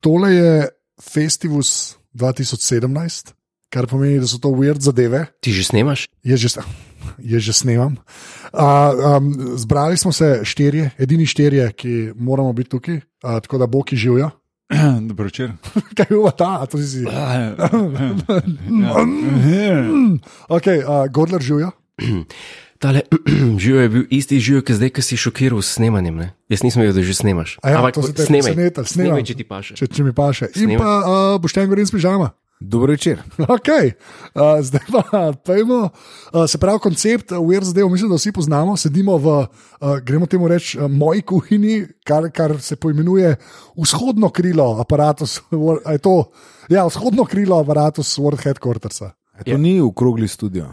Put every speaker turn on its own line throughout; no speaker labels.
Tole je Festivus 2017, kar pomeni, da so to weird zadeve.
Ti že snemaš?
Je že, je že snemam. Uh, um, zbrali smo se štirje, edini štirje, ki moramo biti tukaj, uh, tako da boki živijo.
Dobro večer.
Kaj je bila ta, A, to si si. Ok, uh, Godler živijo.
Tale živo je bil isti živo, ki zdaj, ki si šokiral s snemanjem. Ne? Jaz nisem vedel, da že snemaš.
A ja, to se te
snemaj,
presenetilo, snemam.
snemaj, če ti paše.
Če, če mi paše. In
Snemaj.
pa uh, boš tam govoril s pižama.
Dobro večer.
Okay. Uh, zdaj pa pojmo. Uh, se pravi, koncept uh, weird zadev, mislim, da vsi poznamo. Sedimo v, uh, gremo temu reči, uh, moji kuhinji, kar, kar se poimenuje vzhodno krilo aparatus. Wor- a je To, ja, vzhodno krilo aparatus World Headquartersa.
E,
Ja.
to ni okrogli studio.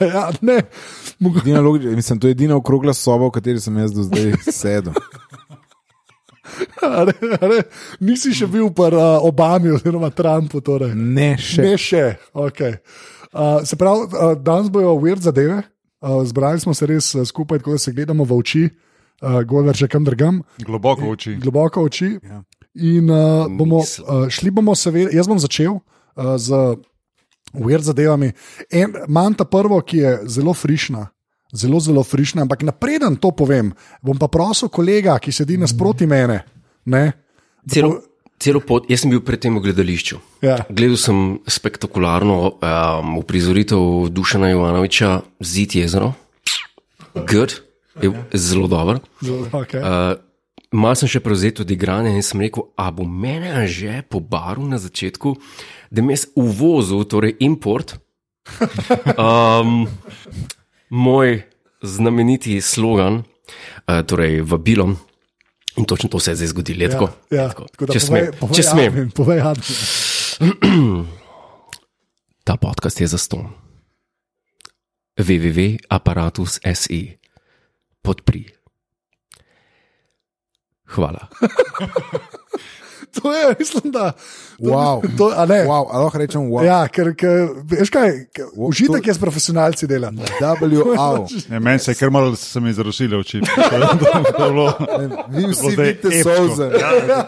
Ja, ne, mogo-
Edina logi- Mislim, to je edina okrogla soba, v kateri sem jaz do zdaj sedel.
a ne, a ne, nisi še bil pri uh, Obami oziroma Trumpu. Torej.
Ne še.
Ne še. Okay. Uh, se pravi, uh, danes bojo ured zadeve, uh, zbrali smo se res uh, skupaj, tako da se gledamo v oči, uh, golar že kam drugam,
Globoko v oči.
globoko v oči. Ja. In uh, bomo, uh, šli bomo, seveda, jaz bom začel uh, z ured zadevami. En, Imam ta prvo, ki je zelo frišna. Zelo, zelo frišna, ampak napreden to povem, bom pa prosil kolega, ki sedi nasproti
Mhm.
mene. Ne?
Celo, celo pot, jaz sem bil predtem v gledališču.
Ja.
Gledal sem spektakularno um, uprizoritev Dušana Jovanoviča, Zid jezero. Good, je zelo dober.
Okay.
Uh, Mal sem še prevzel tudi igranje in sem rekel, a bo mene že po baru na začetku, da mi je uvozil, torej import, um, moj znameniti slogan, uh, torej vabilom. In točno to se je zdaj zgodilo, je tako.
ja,
tako.
tako da
Če
povej-
smem,
povej ja.
če smem.
Admin, povej, Admin.
Ta podcast je za ston. www.apparatus.se podpri. Hvala.
To je, mislim, da. To,
Wow.
To, a ne, wow.
Wow, a lahko rečem, wow.
Ja, ker, ker, veš kaj, ker
Wo-
užitek
to-
je s profesionalci delati.
WAU.
Ja, meni se je kar malo se mi zarušile oči. To je bilo-
Vi vsi
zdaj
vidite
epsko. Ja.
solze.
Ja,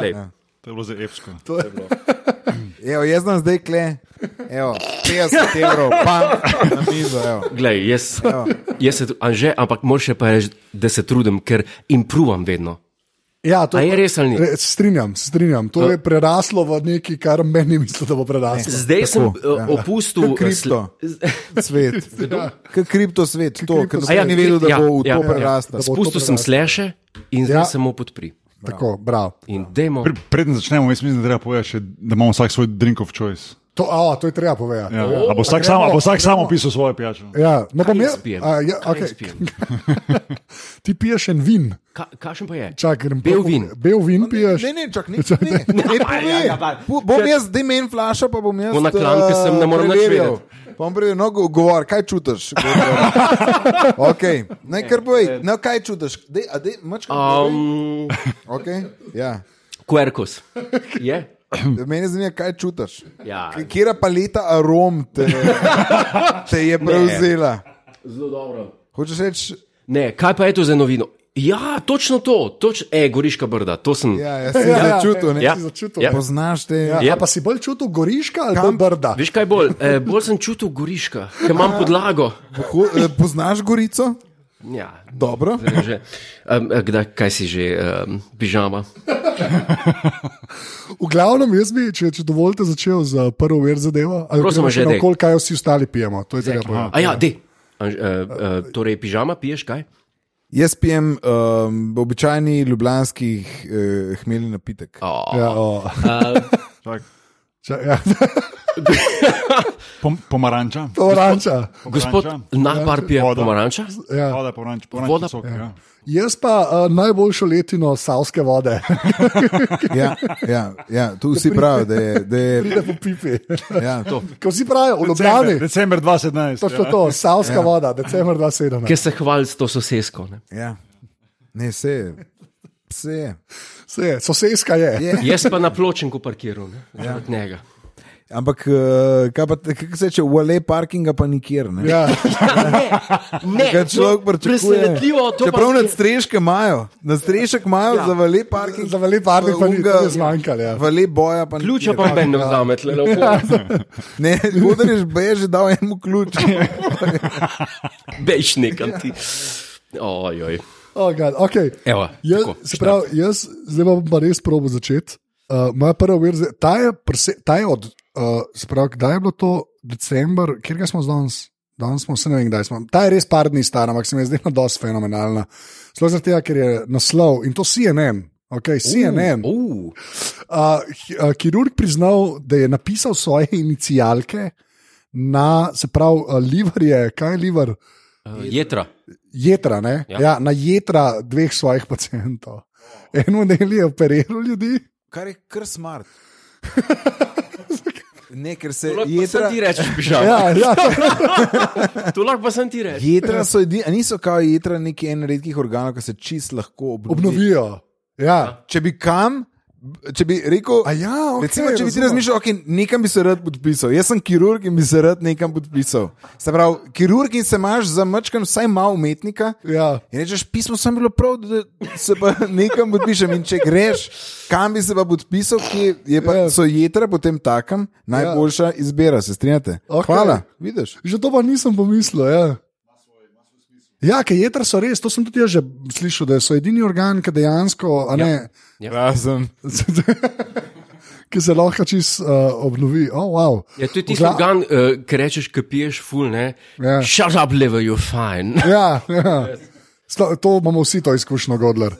Lej,
To je bilo zdaj epsko.
Evo, jaz sem zdaj kle. Evo, 50 evrov, pa na mizo. Evo.
Glej, jaz, jaz se, tru- Anže, ampak moraš še pa reči, da se trudim, ker improvam vedno.
Ja, to
A je res ali ni?
Re, strinjam, se strinjam. To je preraslo v nekaj, kar meni misli, da bo preraslo.
Zdaj Tako, sem ja. opustil eh,
Kot kripto. Svet.
Ja.
Kot kripto svet, to, ker
A ja,
noben ni vedel, da
ja,
bo v
ja,
to
ja.
bo
prerastel.
to
Spustil sem
preraslo.
sleše in
Ja.
zdaj ja. samo podpri.
Tako, bravo.
In dajmo.
Pre- Preden začnemo, jaz mislim, da treba povedati, še, da imamo vsak svoj drink of choice.
To, a, to je treba povedati.
Ja. A bo vsak, sam, a bo vsak sam opisal svojo pijačo?
Ja, no, bom jaz.
spijem?
a, Ja,
Kaj
okay.
jaz pijem?
Ti piješ en vin,
Ka, kašen pa je?
čak, grem
Bel
po-
vin.
Bel vin piješ.
No, Ne, ne, čak, ne, ne. ne
ja, ja, pa.
pove. Bu- Bom jaz demen flaša, pa bom jaz.
Bo na klanki
eh,
sem, ne morem nič
preverjal.
vedeti.
Pa bom preveril, no, go- govor, kaj čutiš? okay. Ne, kar povej, no, kaj čutiš? Dej, a dej, mačka, um.
Um,
okay? ja.
Quercus. Je?
Mene zanima, kaj čutiš.
Ja.
K- Kera paleta arom te, te je prevzela?
Zelo dobro.
Hočeš reči,
Ne, kaj pa je to za novino? Ja, točno to, toč, e, Goriška brda, to sem.
ja, jaz sem ja, začutil, ne?
Ja.
si začutil.
Ja.
Poznaš te. Ja.
Ja, a pa si bolj čutil goriška ali bolj brda?
Veš kaj bolj? E, bolj sem čutil Goriška, ker imam podlago.
Ho, eh, poznaš Gorico?
Ja,
Dobro.
že. Um, kdaj, kaj si že, um, pižama?
V glavnem, jaz bi, če, če dovolite, začel z eh, prvo ver zadevo. Ali
Prosim,
gremo še
že, dej.
naokol, kaj vsi ostali pijemo. To je treba povedati.
A ja, de. Uh, uh, torej, pižama piješ kaj?
Jaz pijem um, običajni ljubljanski uh, hmelj napitek.
Oh.
Ja, o.
Čak.
Ča, ja,
Pom, pomaranča.
oranča.
Gospod
Pomaranča.
Nahbar pije
Voda.
pomaranča?
Ja.
Voda, pomaranč,
Voda.
pomaranč, sok. Ja.
Jaz pa uh, najboljšo letino savske vode,
Ja, ja, ja, tu vsi pravijo, da je. Da je
da po pipi.
ja.
Ko vsi pravijo, v
December,
Ljubljani,
december 2017.
točno to, savska ja. voda, decembr 2017.
Ker se hvali s to sosesko. Ne?
Ja. Ne, vse je. Vse je.
Se je, Soseska je.
Je.
Jaz pa na pločenku parkiram, ne? od njega.
Ampak, eh, kaj pa te- kako se reče, vale parkinga pa nikjer. Ne?
Ja, no,
Ne,
Kaj človek pričakuje.
Presenetljivo, to
Čeprav
pa
nad streške imajo, na strešek imajo ja. za vale parking.
Za vale parking pa ni- to je zmanjkalo, ja.
Vale boja pa nikjer.
ključa pa meni vzame, tle lepo.
Ne, Gudriš B je že dal enemu ključ.
Bejš nekam ti. Ojoj.
oh, God, okay.
Evo,
jaz,
tako,
se pravi, jaz zdaj bom pa res probo začeti. Uh, moja prva verz, ta je, prese, ta je od, uh, se pravi, kdaj je bilo to, december, kjer smo danes? Danes smo vse ne vem, kdaj smo. Ta je res par dni stara, ampak se mi je zdela dosti fenomenalna. Sploh zaradi tega, ker je naslov in to CNN. Okay, CNN. Uh,
Uh,
uh, kirurg priznal, da je napisal svoje inicijalke na, se pravi, uh, liver je, kaj je liver?
jetra.
jedra, ne?
Ja.
ja. Ja, na jedra dveh svojih pacijentov. Eno del je operiral ljudi,
Kar je kar smart. Ne, ker se
Jetra
jedra,
ti rečeš, pižam. Ja.
ja, ja,
To lahko pa sem ti reč.
jedra so edini, a niso kao jedra neki en redkih organov, ki se čist lahko obnovi.
obnovijo. Ja.
Če bi kam, če bi rekel,
A ja, okay,
recimo, če bi ti
razumem.
razmišljal, okay, nekam bi se rad podpisal. Jaz sem kirurg in bi se rad nekam podpisal. Se pravi, kirurg in se imaš za mačkan vsaj malo umetnika.
Ja.
In rečeš, pismo sem bilo prav, da se pa nekam podpišem. In če greš, kam bi se pa podpisal, ki je pa,
Ja.
so jedra potem takem najboljša izbira, se strinjate.
Okej.
Hvala, vidiš.
Že to pa nisem pomislil. Ja. Ja, ker jedra so res, to sem tudi jaz že slišal, da so edini organ, ki dejansko, a ne,
Razen.
ki se lahko čist uh, obnovi. Oh, wow.
Ja, to je tisti
Gla-
organ, uh, ki rečeš, ki piješ ful, ne?
Ja.
Shut up, liver, you're fine.
Ja, ja. Sto, to imamo vsi to izkušnjo, Godler.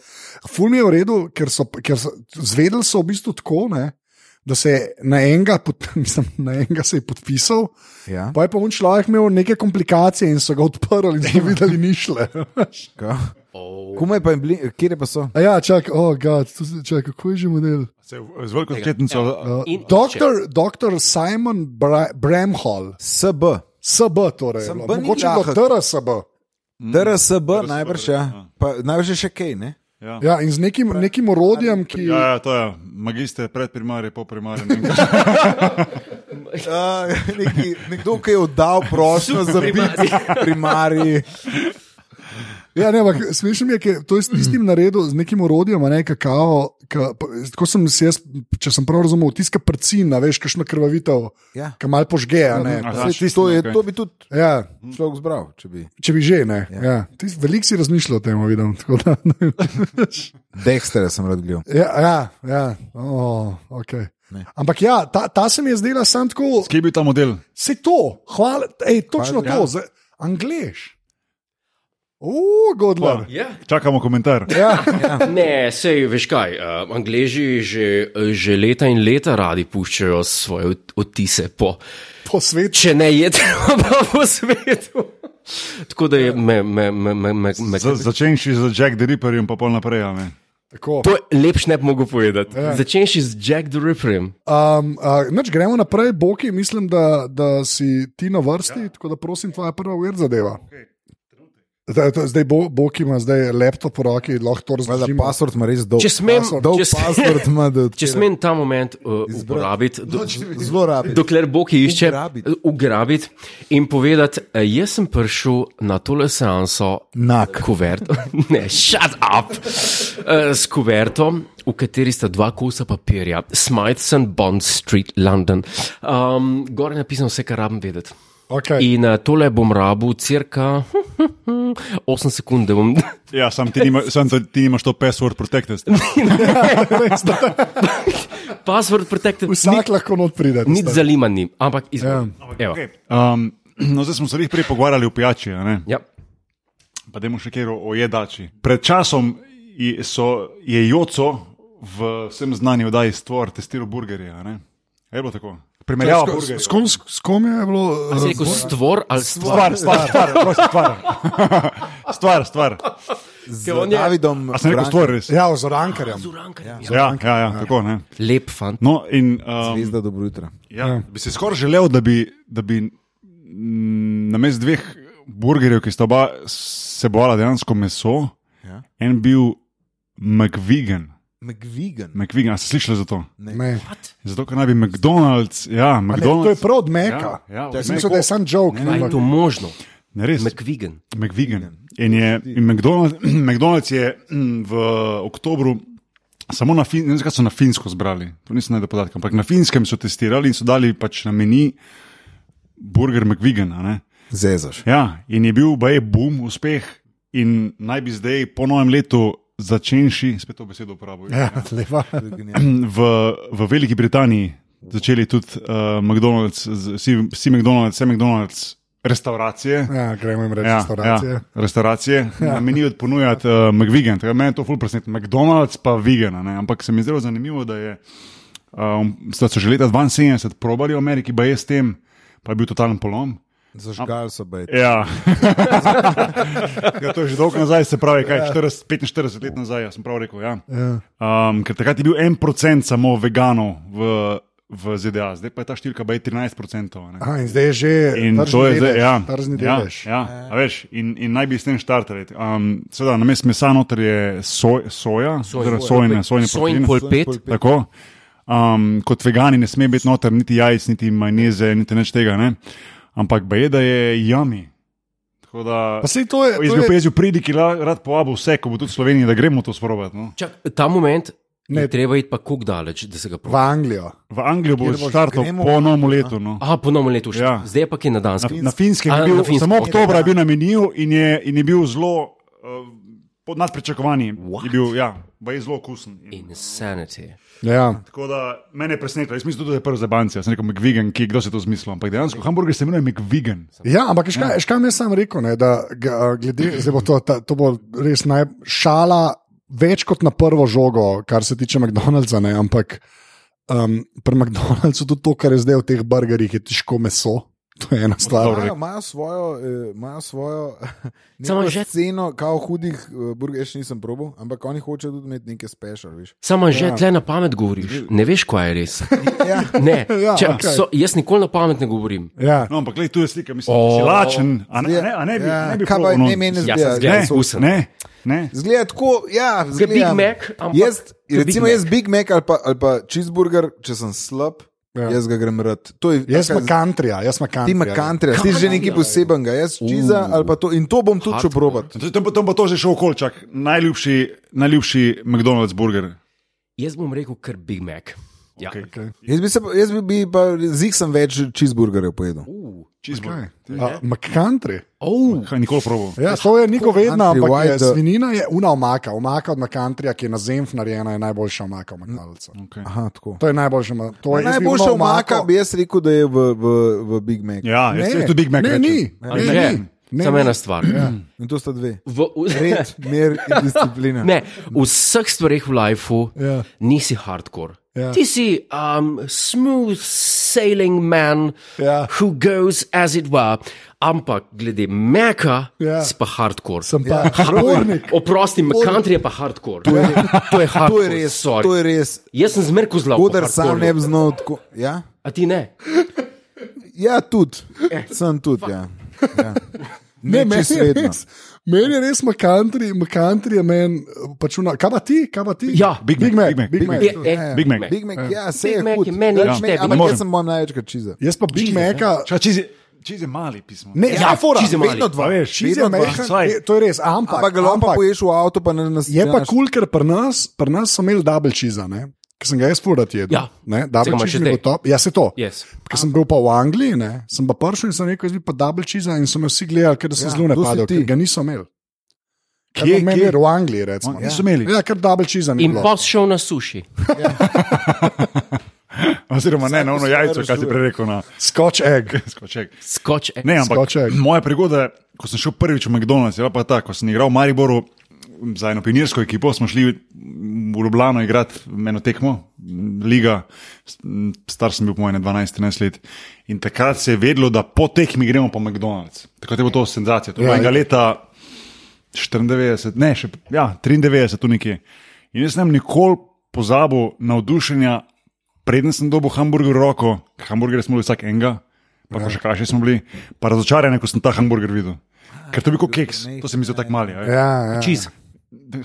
Ful mi je v redu, ker so, ker so zvedeli so v bistvu tako, ne, da se je na enega, pod, mislim, na enega se je podpisal,
Ja,
pa je pa on človek imel neke komplikacije in so ga odprli in so videli ni šle.
ka. Kumaj pa je bili, kje pa so?
A ja, čak, oh, God, to se- čak, kako je že model?
Se v- Z veliko skretnico.
Uh,
In-
doktor, doktor Simon Bra Bramhall,
SB.
SB torej, je bilo.
SB ni
mogoče do
lahek.
TRSB.
DRSB, najbrž, ja. Pa, najbrž je še kaj, ne?
Ja.
Ja, in z nekim, nekim orodjem, ki.
Ja, ja, to je magister, predprimarij, poprimarij. ne vem kaj.
Uh, neki, nekdo, ki je oddal prošnjo za biti primarij.
Ja, ne, ampak smešno mi je, ker to je
Mhm.
s tistim naredil, z nekim urodjem, a ne kakao. Ka, pa- tako sem si jaz, če sem prav razumel, tiska prcina, veš, kakšno krvavitev,
Ja. Mhm.
ki mal požge. a Ne,
Ja,
Saj
tisto,
To, je,
okej.
to bi tudi
ja,
človek zbral, če bi.
če bi že, ne. Ja. Ti si- Veliko si razmišljal o tem, vidim. tako Da, ne.
Dexter sem rad gledal.
ja, ja, ja. Oh, okay. Ampak ja, ta, ta se mi je zdela sam tako,
Kje je bil ta model?
se to, hvala, ej, točno
Hvala, ja.
to, za Anglež. O, Godler. Ja,
Ja.
Čakamo komentar.
Ne, sej veš kaj. Uh, Angleži že, že leta in leta radi puščajo svoje ot- odtise po,
Po svetu.
če ne je treba po svetu. Tako da je me, me, me, me, me, me
Za- Začenši z Jack the Ripperjem, pa pol naprej. a ne.
Tako.
To lepš ne bi mogel povedati. Ja. Začneš z Jack the Ripperjem.
Um, uh, nač, gremo naprej, Boki, mislim, da, da si ti na vrsti, ja. tako da prosim, tvoja prva ured zadeva. Zdaj, to- zdaj bo, Boki ima zdaj laptop v roki, lahko to
Hvala,
razloži.
password ima res dolg.
Če smem-
dolg
če smem-
password ima, da
Če smem ta moment uh, uporabiti, do,
zelo rabi.
dokler Boki išče,
Ugrabiti.
eh, ugrabiti in povedati, eh, jaz sem prišel na tole seanso
Nak.
kuverto, ne, shut up, Eh, s kuverto, v kateri sta dva kosa papirja, Smithson, Bond Street, London. Um, gor je napisano vse, kar rabim vedeti.
Okay.
In eh, tole bom rabu, cirka 8 sekund, da bom.
Ja, sam ti, nima, sam to- ti nimaš to password protected.
Password protected.
Vsak lahko not pride.
Nič
tisto.
zanima ni, ampak izvem. Ja.
Okay. Um, no, zdaj smo se jih prej pogovarjali o pijači, a ne?
Ja.
pa dajmo še kjer o o jedači. Pred časom je, so, je Joco v vsem znani oddaji stvar testiral burgerje. a ne. A Je bilo tako? Primerjava
Sko-
burgerje.
s kom- S kom je bilo?
Si rekel stvor ali stvar?
Stvar, stvar, stvar, prosim, stvar. Stvar, stvar.
Z
Ker on je-
Davidom.
A sem rekel
Brankom.
stvar res?
Ja, z orankarjem.
Ja, ja, ja tako ne.
Lep fant.
No, in um,
Zvezda, dobro jutro.
Ja, bi si skoraj želel, da bi, da bi mm, namesto dveh burgerjev, ki sta oba sebovala dejansko meso,
Ja.
en bil McVigan.
McVigan.
McVigan, a ste slišali za to?
Ne.
Zato, ker naj bi McDonald's, ja,
Ne, to je
McDonald's.
prav od Meka.
Ja, ja, od
Jaz
Maca.
mislim, da je sam joke.
Kaj je to možno?
Ne, res.
McVigan.
McVigan. In, je, in McDonald's, McDonald's je mm, v oktobru. Samo na, fin, ne vem, zakaj so na Finsko zbrali, to nisem najdel podatka, ampak na Finskem so testirali in so dali pač na meni burger McVigan. a ne.
Zezaš.
Ja, in je bil baje boom, uspeh, in naj bi zdaj po novem letu začenši, spet to besedo uporabljam,
Ja, lepa.
v, v Veliki Britaniji začeli tudi uh, McDonald's, z- vsi, vsi McDonald's, vse McDonald's, restauracije.
Ja, gremo jim reči,
Ja,
restauracije.
Ja, restauracije ja. na meniju ponujati uh, McVigan. Tako da Meni je to ful presenečen. McDonald's pa vegan, ne? ampak se mi je zelo zanimivo, da, je, um, da so že leta 72 probali v Ameriki, pa je s tem, pa je bil totalen polom.
Zažgal so baj.
Ja. ja, to je že dolgo nazaj, se pravi, kaj, 40, 45 let nazaj, ja, sem prav rekel. Ja. Um, ker takrat je bil en procent samo veganov v, v ZDA, zdaj pa je ta številka baje 13 procentov.
Aha, in zdaj je že
In
tržni
to je zdaj,
delež,
ja,
tržni
ja,
delež.
ja, a veš, in, in naj bi s tem štartali. Um, Seveda, na mestu mesa noter je soj, soja, oziroma sojne, sojne
Sojn
proteine.
polpet.
Tako. Um, kot vegani ne sme biti noter niti jajc, niti majneze, niti nič tega. Ne? Ampak baje, da je jami. Tako da.
Pa sej to je.
Jaz
To
bi
je
opazil pridiki, rad povabil vse, ko bo tudi v Sloveniji, da gremo to sprobati. No.
Čak, ta moment ne.
Ne.
je treba iti pa kako daleč, da se ga
v
proba.
Anglijo.
V Anglijo bo
Kjer boš,
štartal
gremo?
po novem letu. No.
Aha, ponovno leto še.
Ja.
Ja. Zdaj je pa je na Danskem.
Na, na finskem
A,
je
na
bil, na
Finskem,
samo
okej.
oktober je bil na meniju in je, in je bil zelo uh, pod nadprečakovanji. Je bil, ja, baje zelo okusen. In,
Insanity.
Ja.
Tako da mene je presenetilo, jaz mislim, tudi, da je prvi za banci, jaz sem rekel McVigan, ki kdo se je to zmislil, ampak dejansko hamburger se imenuje McVigan.
Ja, ampak veš kaj, veš, kaj mi je sam rekel, ne, da ga, glede, zdaj bo to, ta, to bo res najšala, več kot na prvo žogo, kar se tiče McDonald'sa. Ne, ampak um, pri McDonald'su tudi to, kar je zdaj v teh burgerjih, je težko meso. To je ena stvar.
Dobro.
Imajo imajo svojo, eh, imajo svojo
Samo
neko
že-
sceno, kao hudih eh, burgerjev, še nisem probil, ampak oni hočejo tudi imeti neke special, veš.
Samo že ja. tle na pamet govoriš, ne veš, kaj je res.
Ja.
Ne,
Ja,
ja, Čak,
okej.
okay. so, jaz nikoli na pamet ne govorim.
Ja.
No, ampak gledaj, tu je slika, mislim,
O.
oh, si lačen, a ne, a ne, a ne bi,
Ja,
ne
kaj
bi
pa
probal, no.
ne meni
Ja,
zgleda?
sem
Ne,
zgleda. Okusen.
ne, ne.
Zgleda tako, ja,
Kot Big
zgleda.
Mac, ampak
Jaz,
kot
recimo,
Big
jaz Big Mac ali pa, ali pa cheeseburger, če sem slab,
Ja.
ja. jaz ga grem rad. To je
Jaz
taka
sem country, ja. jaz sem
Ti
country.
imaš country, ti si že nekaj
ja.
posebenega, jaz čiza
Uh.
ali pa to. In to bom tudi šel probat.
To- Tam bo, tam bo to že šel okolčak, najljubši, najljubši McDonald's burger.
Jaz bom rekel, ker Big Mac. Ja. Okay.
Okay.
Jaz bi, se, pa- jaz bi, bi pa zig sem več cheeseburgerjev pojedel.
Uh.
Cheeseburger.
Uh, McCountry.
Oh.
Kaj nikoli probal.
Ja, to je niko vedno,
Country
ampak je,
white, da-
svinina je una omaka. Omaka od McCountryja, ki je na zemlji narejena, je najboljša omaka v McDonald'su.
Okay.
Aha, tako.
To je najboljša omaka. To je jaz bi
Mm, Najboljša
ono
omaka
omako-
bi jaz rekel, da je v, v, v Big Macu.
Ja, jaz sem
Ne,
tudi Big Mac.
ne,
rečem.
ni.
Ne,
Ne,
ne,
ni. Ne,
Samo
ni.
ena stvar. Ja.
In to sta dve.
V, v,
Red, mir in disciplina.
ne, v vseh stvareh v lifeu
Ja.
ja. nisi hardcore.
Ja.
Ja. Ti si um, smooth sailing man,
Ja.
who goes as it were. Ampak glede meka,
Ja.
ja. si pa hardcore.
Sem pa ja, športnik.
Oprosti, country je pa hardcore. To je, to je hardcore.
To je res,
sorry.
to je res.
Jaz sem zmerno zelo
Kodar sam ne bi znal tako. Ja,
A ti ne?
ja tudi. Sem tudi, ja. ja.
Eh, Ne,
Ne,
meni
čisto
je
vedno.
res, meni je res McCountry, McCountry je meni eh, pačuna. Kaj pa ti, kaj pa ti?
Ja.
Big Mac.
Big Mac,
Big Mac.
Big Mac. Eh,
Je, je,
Big Mac.
Big Mac, ja, se
Big
je
Mac
hud.
je meni nič tebi.
Ampak
Morem.
jaz sem moj največkrat čiza.
Jaz pa Big Maca.
Ča, cheese je- cheese je mali pismo.
Ne, ja,
Ja,
fora,
cheese je mali.
vedno dva.
A veš,
Cheese je
vedno dva.
mehko,
Saj.
to je res, ampak,
Ampak ga lahko
ampak
poješ v avto, pa ne Ja, nas
je pa kul, cool, ker pri nas, pri nas so imeli double cheese, ne? ker sem ga jaz furat jedel.
Ja.
ne,
Se
double
ga imaš
cheese
še
mi bo
zdaj?
top. Ja, se to.
Yes.
Ker sem bil pa v Angliji, ne? sem pa prišel in sem rekel, jaz bi pa double cheese in so me vsi gledali, ker sem ja,
Ja,
zelo
to si
napadel,
ti.
ker ga niso imeli.
Kje,
Kje, kje?
kje?
V Angliji, recimo.
Oni niso imeli.
Ja, ker double cheese ni
In
bilo.
pa si šel na suši.
Oziroma, ne, na ono
Vsako
jajco, kaj
stvar
si prej rekel, na
Scotch egg.
skoček.
Skoč. eh.
Ne, ampak
Skoček.
moja prigoda, ko sem šel prvič v McDonald's, je bila pa ta, ko sem igral v Mariboru za eno pionirsko ekipo, smo šli v Ljubljano igrati eno tekmo, liga, star sem bil po mojem 12-13 let. In takrat se je vedelo, da po tekmi gremo po McDonald's. Takrat je bilo to senzacija. To je
Ja,
bilo enega
je.
leta 94, ne, še, ja, 93, tu nekje. In jaz sem nikoli pozabil navdušenja, preden sem dobil hamburger v roko, hamburger smo bili vsak enega, pa,
Ja.
pa še krajši smo bili, pa razočarani, ko sem ta hamburger videl. Ker to je bil kot keks, to se mi zdi tako mali. a veš.
Ah, Ja, ja.
Cheese.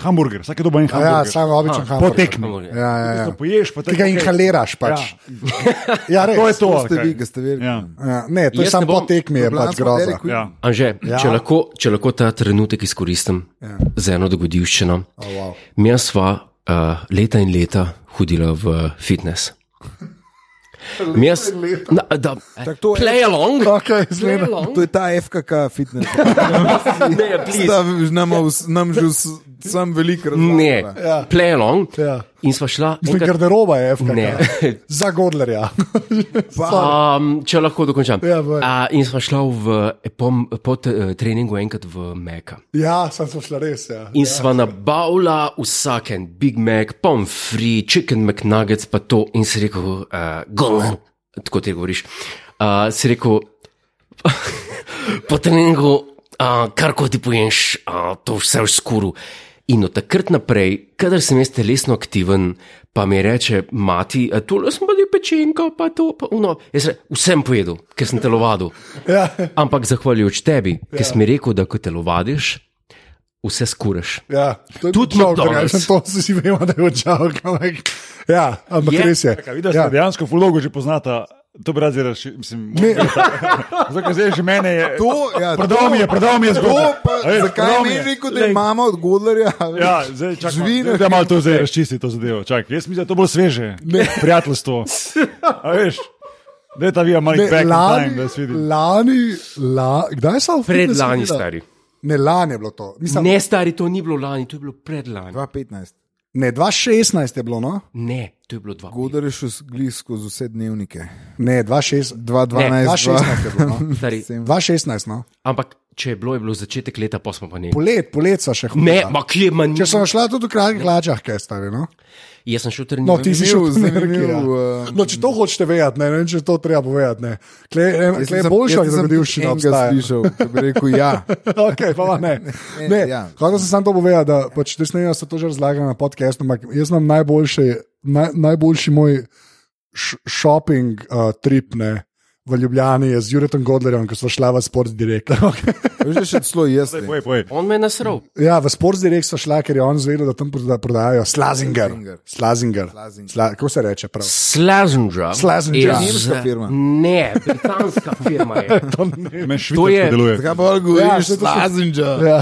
Hamburger, vsak je dobil en
Ja,
hamburger.
samo običajen
Po
hamburger.
tekmi.
Hamburger.
Ja, ja,
Tisto
ja.
Poješ, pa
Ti ga
okej.
inhaliraš pač. Ja, res.
To je to.
To
ali
ste
kaj?
vi, ki ste verjeli.
Ja.
Ja, ne, to je
Jaz
samo
ne bom-
po tekmi, je pač groza.
Ja.
Anže, ja. če, lahko, če lahko ta trenutek izkoristim ja. za eno dogodivščino.
Oh, wow.
Mi smo uh, leta in leta hodili v fitness. Mi smo
Tako to je-
play along.
Okej,
play
zgleda.
along.
To je ta FKK fitness.
Ne, please.
Sta nam, vs- nam že vs- sam veliko razumem.
Ne,
Ja.
play along.
Ja.
In sva šla.
Mislim,
enkrat-
garderoba je FK.
Ne.
Za Godlerja.
Um, če lahko dokončam.
Ja, boj.
A, in sva šla v, eh, po, po t- treningu enkrat v Meka.
ja, sem se šla res. Ja.
In sva nabavila vsak en Big Mac, pommes frites, chicken McNuggets, pa to. In si rekel, uh, gol, tako ti govoriš. Uh, si rekel, po treningu, uh, kar ko ti poješ, uh, to vse v skuru. In od takrat naprej, kadar sem jaz telesno aktiven, pa mi reče mati, tu sem pa ti pečenka, pa to, pa uno. Jaz rečem, vsem pojedel, ker sem telovadil.
Ja.
Ampak zahvaljujoč tebi, ja. ki si mi rekel, da ko telovadiš, vse skuraš.
Ja, to je
Tudi
joke,
McDonald's.
ja, sem to si si vemo, da je odžal. Ja, ampak
Je.
je. res je.
Kaj, vidiš,
ja.
ja. dejansko fulogo že poznata. To bi rad zdaj rešil. mislim, Zato, ker zdaj že mene je.
To, ja,
Prodal mi je, prodal mi je
To,
zgodbo.
pa,
A veš,
zakaj
prodal
mi
mi
je
je.
rekel, da je mama od Godlerja? a veš?
Ja, zdaj čakam.
Živi na-
Da malo to zdaj razčisti to zadevo. Čak, jaz mislim, da je to bolj sveže. Ne. Prijateljstvo. A veš, da je ta vija malo
Ne,
back in time,
lani,
da se vidi.
lani, la, kdaj sem
Pred lani, stari.
Ne, lani je bilo to. Mislim, ne.
Ne, stari, to ni bilo lani, to je bilo predlani.
2015.
ne, 2016 je bilo, no?
Ne, to je bilo dva.
Godler je šel glis skozi vse dnevnike.
Ne, 2016. 2016
2012.
je bilo. No?
Stari.
2016, no.
Ampak če je bilo, je bilo začetek leta, pa smo pa ne.
Polet, polet so še hodili.
Ne, ma kje manj.
Ja. Če sem šla tudi v kratkih hlačah, kaj stari, no?
Jaz sem šel
No,
trenirati.
ti si šel
Zanimiv,
z nekaj.
zanimiv,
Ja.
eh,
No, če to hočeš vedeti, ne, ne vem, če to treba povedati. ne. Klej
Jaz
je
nisem-
boljša,
jaz
da
nisem
bi šel
enega slišal, ki bi rekel ja.
okay, pa pa ne. ne,
ja.
ja. Hotel sem samo to povedati, da pač te snejo, se to že razlaga na podkastu, ampak jaz imam najboljši, naj, najboljši moj š- shopping uh, trip ne, v Ljubljani je z Juretom Godlerjem, ko smo šla v Sports Direct. Okay.
Veš, da še celo jaz. ne.
Poj, poj.
On me je nasral.
ja, v Sports Direct smo šla, ker je on zvedel, da tam proda- prodajajo slazinger.
Slazinger.
Slazinger.
Slazinger.
Sla, kako se reče prav?
Slazenža.
Slazenža.
Nemška firma.
Ne, britanska firma je.
Meni
To je-
švicarsko deluje.
Zakaj pa govoriš?
Ja, saj to-
Slazinja.
Ja.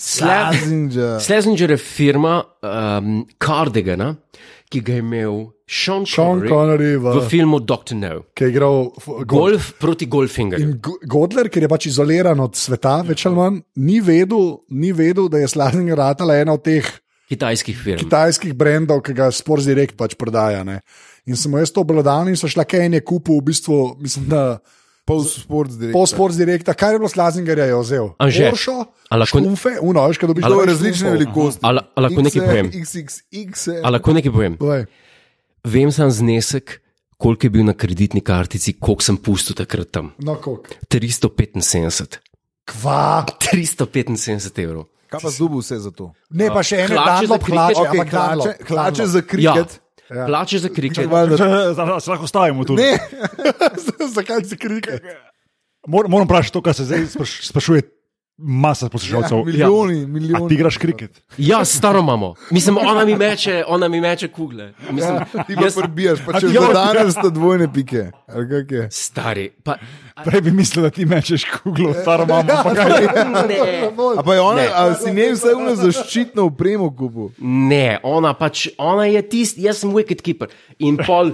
Sla-
Slazinja.
Slazenger je firma um, Cardigana, ki ga je imel Sean
Sean
Connery,
Connery v,
v filmu Doctor No.
ki je igral f- golf.
Golf proti golfingerju.
In Go- Godler, ker je pač izoliran od sveta, več ali manj, ni vedel, ni vedel da je Slavinger ratala ena od teh
Kitajskih firm.
tajskih brendov, ki ga Sports Direct pač prodaja. Ne. In sem mu jaz to obladal in so šla kaj en je kupil, v bistvu, mislim, da
Pol sports direktor.
po Sports Directa, kar je bilo Slavingerja, je vzel.
Anže,
Oršo,
a lahko-
šumfe, uno, veš, kaj dobiš.
To
dobiš
je različne
šumfov.
velikosti.
A la- a lahko nekaj
XL,
povem?
XXX.
A lahko nekaj povem?
Povej.
Vem sam znesek, koliko je bil na kreditni kartici, koliko sem pustil takrat tam.
No, koliko?
375.
Kva.
375 evrov.
Kaj pa zdubu vse za to?
Ne, pa še ene
Hlače za
Dunlop
kriket?
hlače,
Ok,
ampak
Hlače,
Dunlop,
hlače
Dunlop.
za
Ja,
kriket.
ja. Plače za kričanje.
Zdaj se lahko stavimo tu.
Ne,
Zakaj si kriket?
Mor, moram vprašati to, kar se zdaj spraš, sprašuje masa poslušalcev.
Ja, milijoni, milijoni.
A ti igraš kriket?
Ja, staro imamo. Mislim, ona mi meče, ona mi meče kugle. Mislim,
Ja, ti pa
jaz,
prbijaš, pa če
A ti-
zadaneš, sta dvojne pike. Ali kako je?
stari. Pa,
Prej bi mislil, da ti mečeš kuglo, staro mamo. Pa kaj?
ne,
A pa je ona,
Ne.
a si ne vse vno zaščitno upremo kupu.
ne, ona pač, ona je tisti, jaz sem wicked keeper. In pol,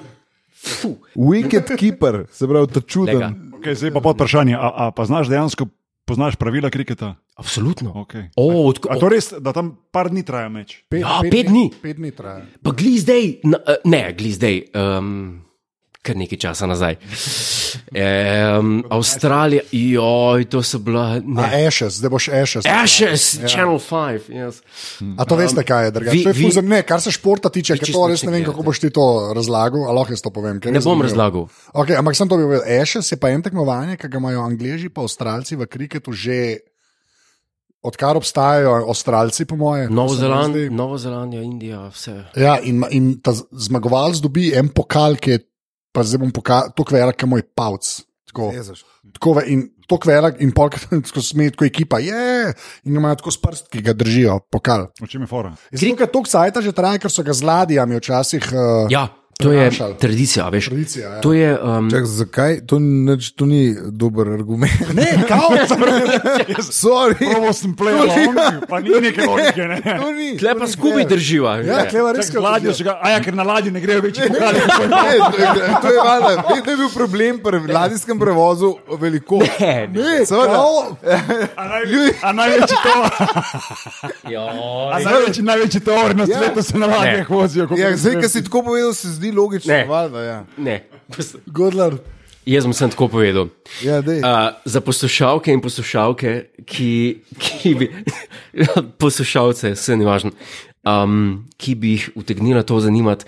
fu,
Wicked keeper, se pravi, ta
lega.
čuden.
Okay, zdaj pa pod vprašanje, a, a pa znaš dejansko poznaš pravila kriketa?
Absolutno.
Okay.
O, odko,
A to res, da tam par dni traja meč?
Pet,
Ja, pet dni.
Pet dni traja.
Pa gli zdaj, na, eh, ne, gli zdaj, um, kar nekaj časa nazaj. Um, Avstralija, joj, to so bila.
A e, ja.
Ne.
Ashes, zdaj boš Ashes.
Ashes, Channel 5. Yes.
A to veste, kaj je drugače?
Um, vi-
To je ful
vi-
za- Ne, kar se športa tiče, ker
čisto
to
nič
res ne
ne
vem,
gledate.
kako boš ti to razlagal, ali lahko jaz to povem.
Ne bom razlagal.
Okay, ampak sem to bi povedal. Ashes je pa en tekmovanje, ki ga imajo Angliji in Avstralci v kriketu že odkar obstajajo, Avstralci, po moje. to
Novo
se mi
Zeland,
zdi.
Novo Zelandija, Indija, vse.
Ja, in, in ta z- zmagovalec dobi en pokal, ki je, pa zdaj bom pokal, to kvera, ki je moj pavc. Tako.
Jezus.
Tako ve- in to kvelak, in polk, tako smeji, tako ekipa je, in ga imajo tako s prst, ki ga držijo, pokal.
V čem je fora?
Zdaj, ker to cajta že traja, ker so ga z ladijami včasih. Uh,
Ja, to je
Prenašali.
tradicija, veš.
Tradicija, ja.
To je. Um,
Čak, zakaj? To, nič, to ni dober argument.
Ne, kao,
Sorry,
Prvo sem plejal, pa ni neke logike. Ne?
to ni.
Tle pa skupaj drživa.
ja,
že.
kleva
Čak,
res
z Ladjo še ga, a ja, ker na ladji ne grejo več pokali.
Ne, to je- to je valjda. Vedno je bil problem pri ladijskem prevozu veliko.
Ne,
ne, seveda.
A naj- a največji tovor, a
Joj.
največji, največji tovor na svetu se na ladjah vozijo. kot
Ja,
pri
zdaj,
nas.
ki si tako povedal, se zdi logično.
Ne.
Valjda, ja.
Ne.
Godler.
Jaz sem samo tako povedal.
Ja, dej.
Uh, za poslušalke in poslušalke, ki, ki bi, poslušalce, se ne važno, um, ki bi jih utegnila to zanimati,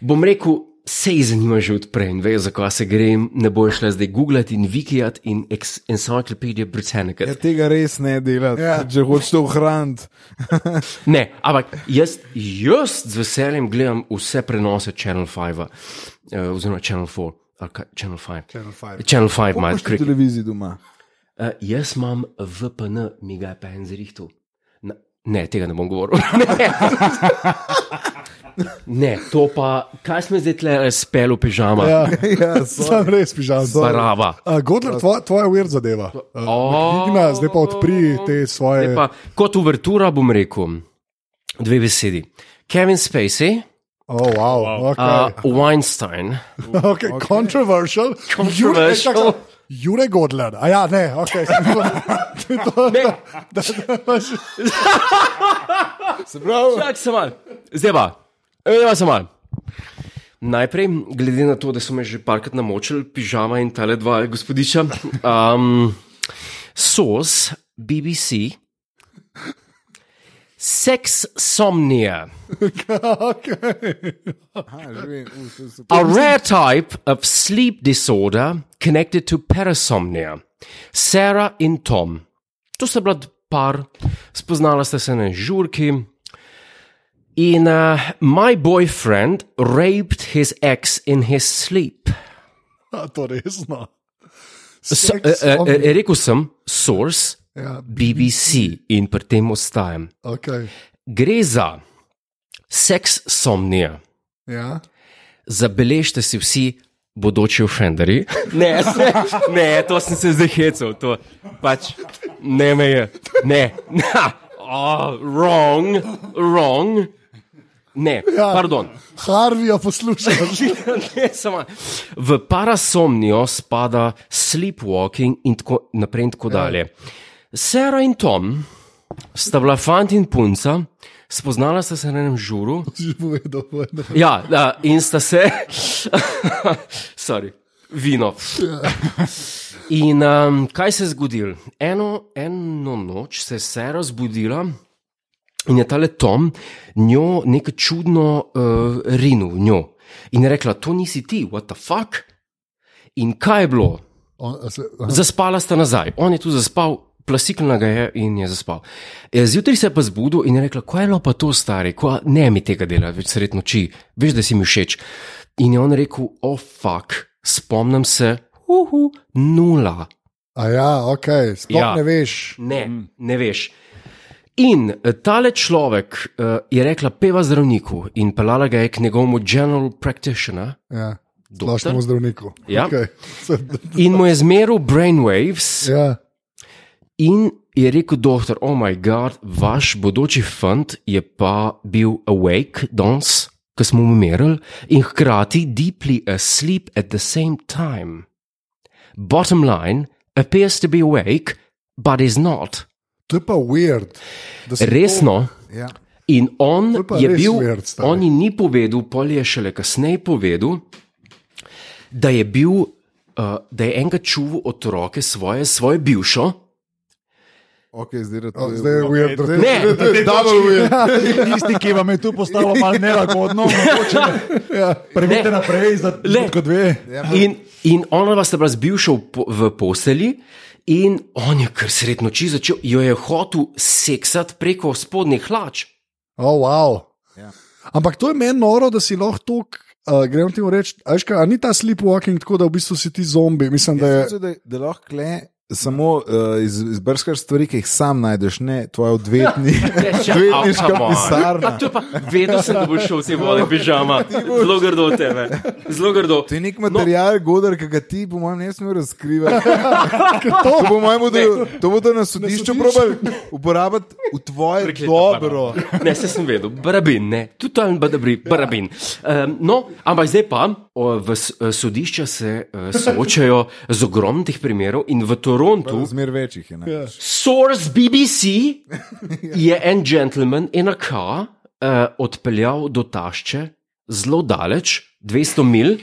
bom rekel, se jih zanima že odprej in vejo, zakaj se gre, ne bojo šle zdaj googlati in vikijati in ex- Encyclopedia Britannica.
Ja, tega res ne delati,
Ja.
ja. če hočeš to ohraniti.
Ne, ampak jaz, jaz z veseljem gledam vse prenose Channel 5, uh, oziroma Channel 4, ali kaj, Channel 5.
Channel 5.
Channel 5 ima
Imaš
odkrit.
televizijo doma.
Uh, jaz imam VPN, mi ga je pa en zrihtel. Na- Ne, tega ne bom govoril. Ne, ne to pa, kaj smo zdaj tle spelo pižama, ja,
Ja,
Ja, sorry.
sem res pižam.
barava.
Uh, Godler, tvoja, tvoja weird zadeva. Uh,
O.
Digna, zdaj pa odpri te svoje.
Zdaj Pa, kot uvertura bom rekel dve besedi. Kevin Spacey,
Oh, wow. wow. Okay.
uh, Weinstein,
Okay, okay. Controversial.
Controversial.
Jure, čakaj, Jure Godler. A ja, ne, ok. To je to,
Ne.
da- da- da imaš-
Se pravi,
Čak se mal, zdaj pa, zdaj se mal. Najprej, glede na to, da so me že parkrat namočili, pižama in tale dva gospodiča, um, SOS, BBC, Sex Somnia,
Okay.
aha, Ja, že vem, u, to je super.
a rare type of sleep disorder connected to parasomnia, Sarah in Tom. To sta bila par, spoznala sta se na žurki. In uh, my boyfriend raped his ex in his sleep.
A, To no. resno.
So, uh,
Sex
uh,
on-
uh, rekel sem, source,
Ja,
BBC in pri tem ostajam.
okay.
Gre za seks somnija.
ja.
Zabeležite si vsi bodoči ofenderji. Ne, se, ne, to sem se zdaj hecel, to pač ne me je. Ne, na, oh, wrong, wrong. Ne, pardon.
Harvija poslušaš.
ne, samo. V parasomnijo spada sleepwalking in tako naprej in tako dalje. Sara in Tom sta bila fant in punca, spoznala sta se na enem žuru.
Že povedal, povedal.
Ja, da, in sta se, sorry, vino. In um, kaj se je zgodilo? Eno, eno noč se je Sara zbudila in je tale Tom njo nekaj čudno uh, rinil, v njo. In je rekla, to nisi ti, what the fuck. In kaj je bilo?
On, a se, aha.
Zaspala sta nazaj, on je tu zaspal, plasikljena ga je in je zaspal. E, Zjutraj se je pa zbudil in je rekla: Kaj je bilo pa to, stari, Kva, ne mi tega dela, več sred noči, veš, da si mi všeč. In je on rekel: O, oh, fuck, spomnim se, uhu, nula.
A ja, ok, sploh
Ja.
ja. ne veš.
Ne, ne veš. In eh, tale človek uh, je rekla: Peva zdravniku in pelala ga je k njegovemu general practitioner.
Ja.
Doktor?
Splošnemu zdravniku.
Ja.
Okay. Se,
In mu je zmeril brainwaves,
ja.
In je rekel, doktor, oh moj bog, vaš bodoči fant je pa bil awake danes, ko smo umirali, in hkrati deeply asleep at the same time. Bottom line, appears to be awake, but is not.
To je pa weird. da si
Resno.
Ja.
In on
To je pa
je
res
bil,
weird, stari.
on ji ni povedal, pol je šele kasneje povedal, da je bil, uh, da je enkrat čuval otroke svoje, svoje bivšo.
Okay, zdaj je
To,
to
zdaj je weird.
to
Ne.
to je double weird.
Tisti, ki vam je tu postalo malo nelagodno, mogoče
Ne.
prebite naprej za
Le.
kot dve.
In, in ona vas je bila zbivša v, po- v postelji, in on je kar sred noči začel, jo je hotel seksati preko spodnjih hlač.
Oh, wow.
Ja.
Ampak to je meni noro, da si lahko tako Uh, gremo ti reči, ajška, a ni ta sleepwalking tako, da v bistvu si ti zombi. Mislim, da je.
Jaz mislim, da, da lahko le samo uh, iz, izbrskaš stvari, ki jih sam najdeš, ne tvoje odvetni,
Ja,
odvetniška pisarna.
To je pa vedno sem, da boš šel vsi voli pižama. Zelo grdo od tebe. Zelo grdo.
To je nek material, no. Godar, ki ga ti, po mojem, ne smeš razkrivati. to, po mojem, bodo, to bodo na sodišču
sodišču.
probali uporabiti v tvoje
Prekleto
dobro.
barabo. Ne, se sem vedel, barabin, ne, totalni badabri, barabin. Um, no, ampak zdaj pa o, v s- eh, sodišča se uh, soočajo z ogromnih primerov in v Torontu
Zmer večjih je. Ne?
Source BBC je en gentleman in a car uh, odpeljal do tašče zelo daleč, 200 mil,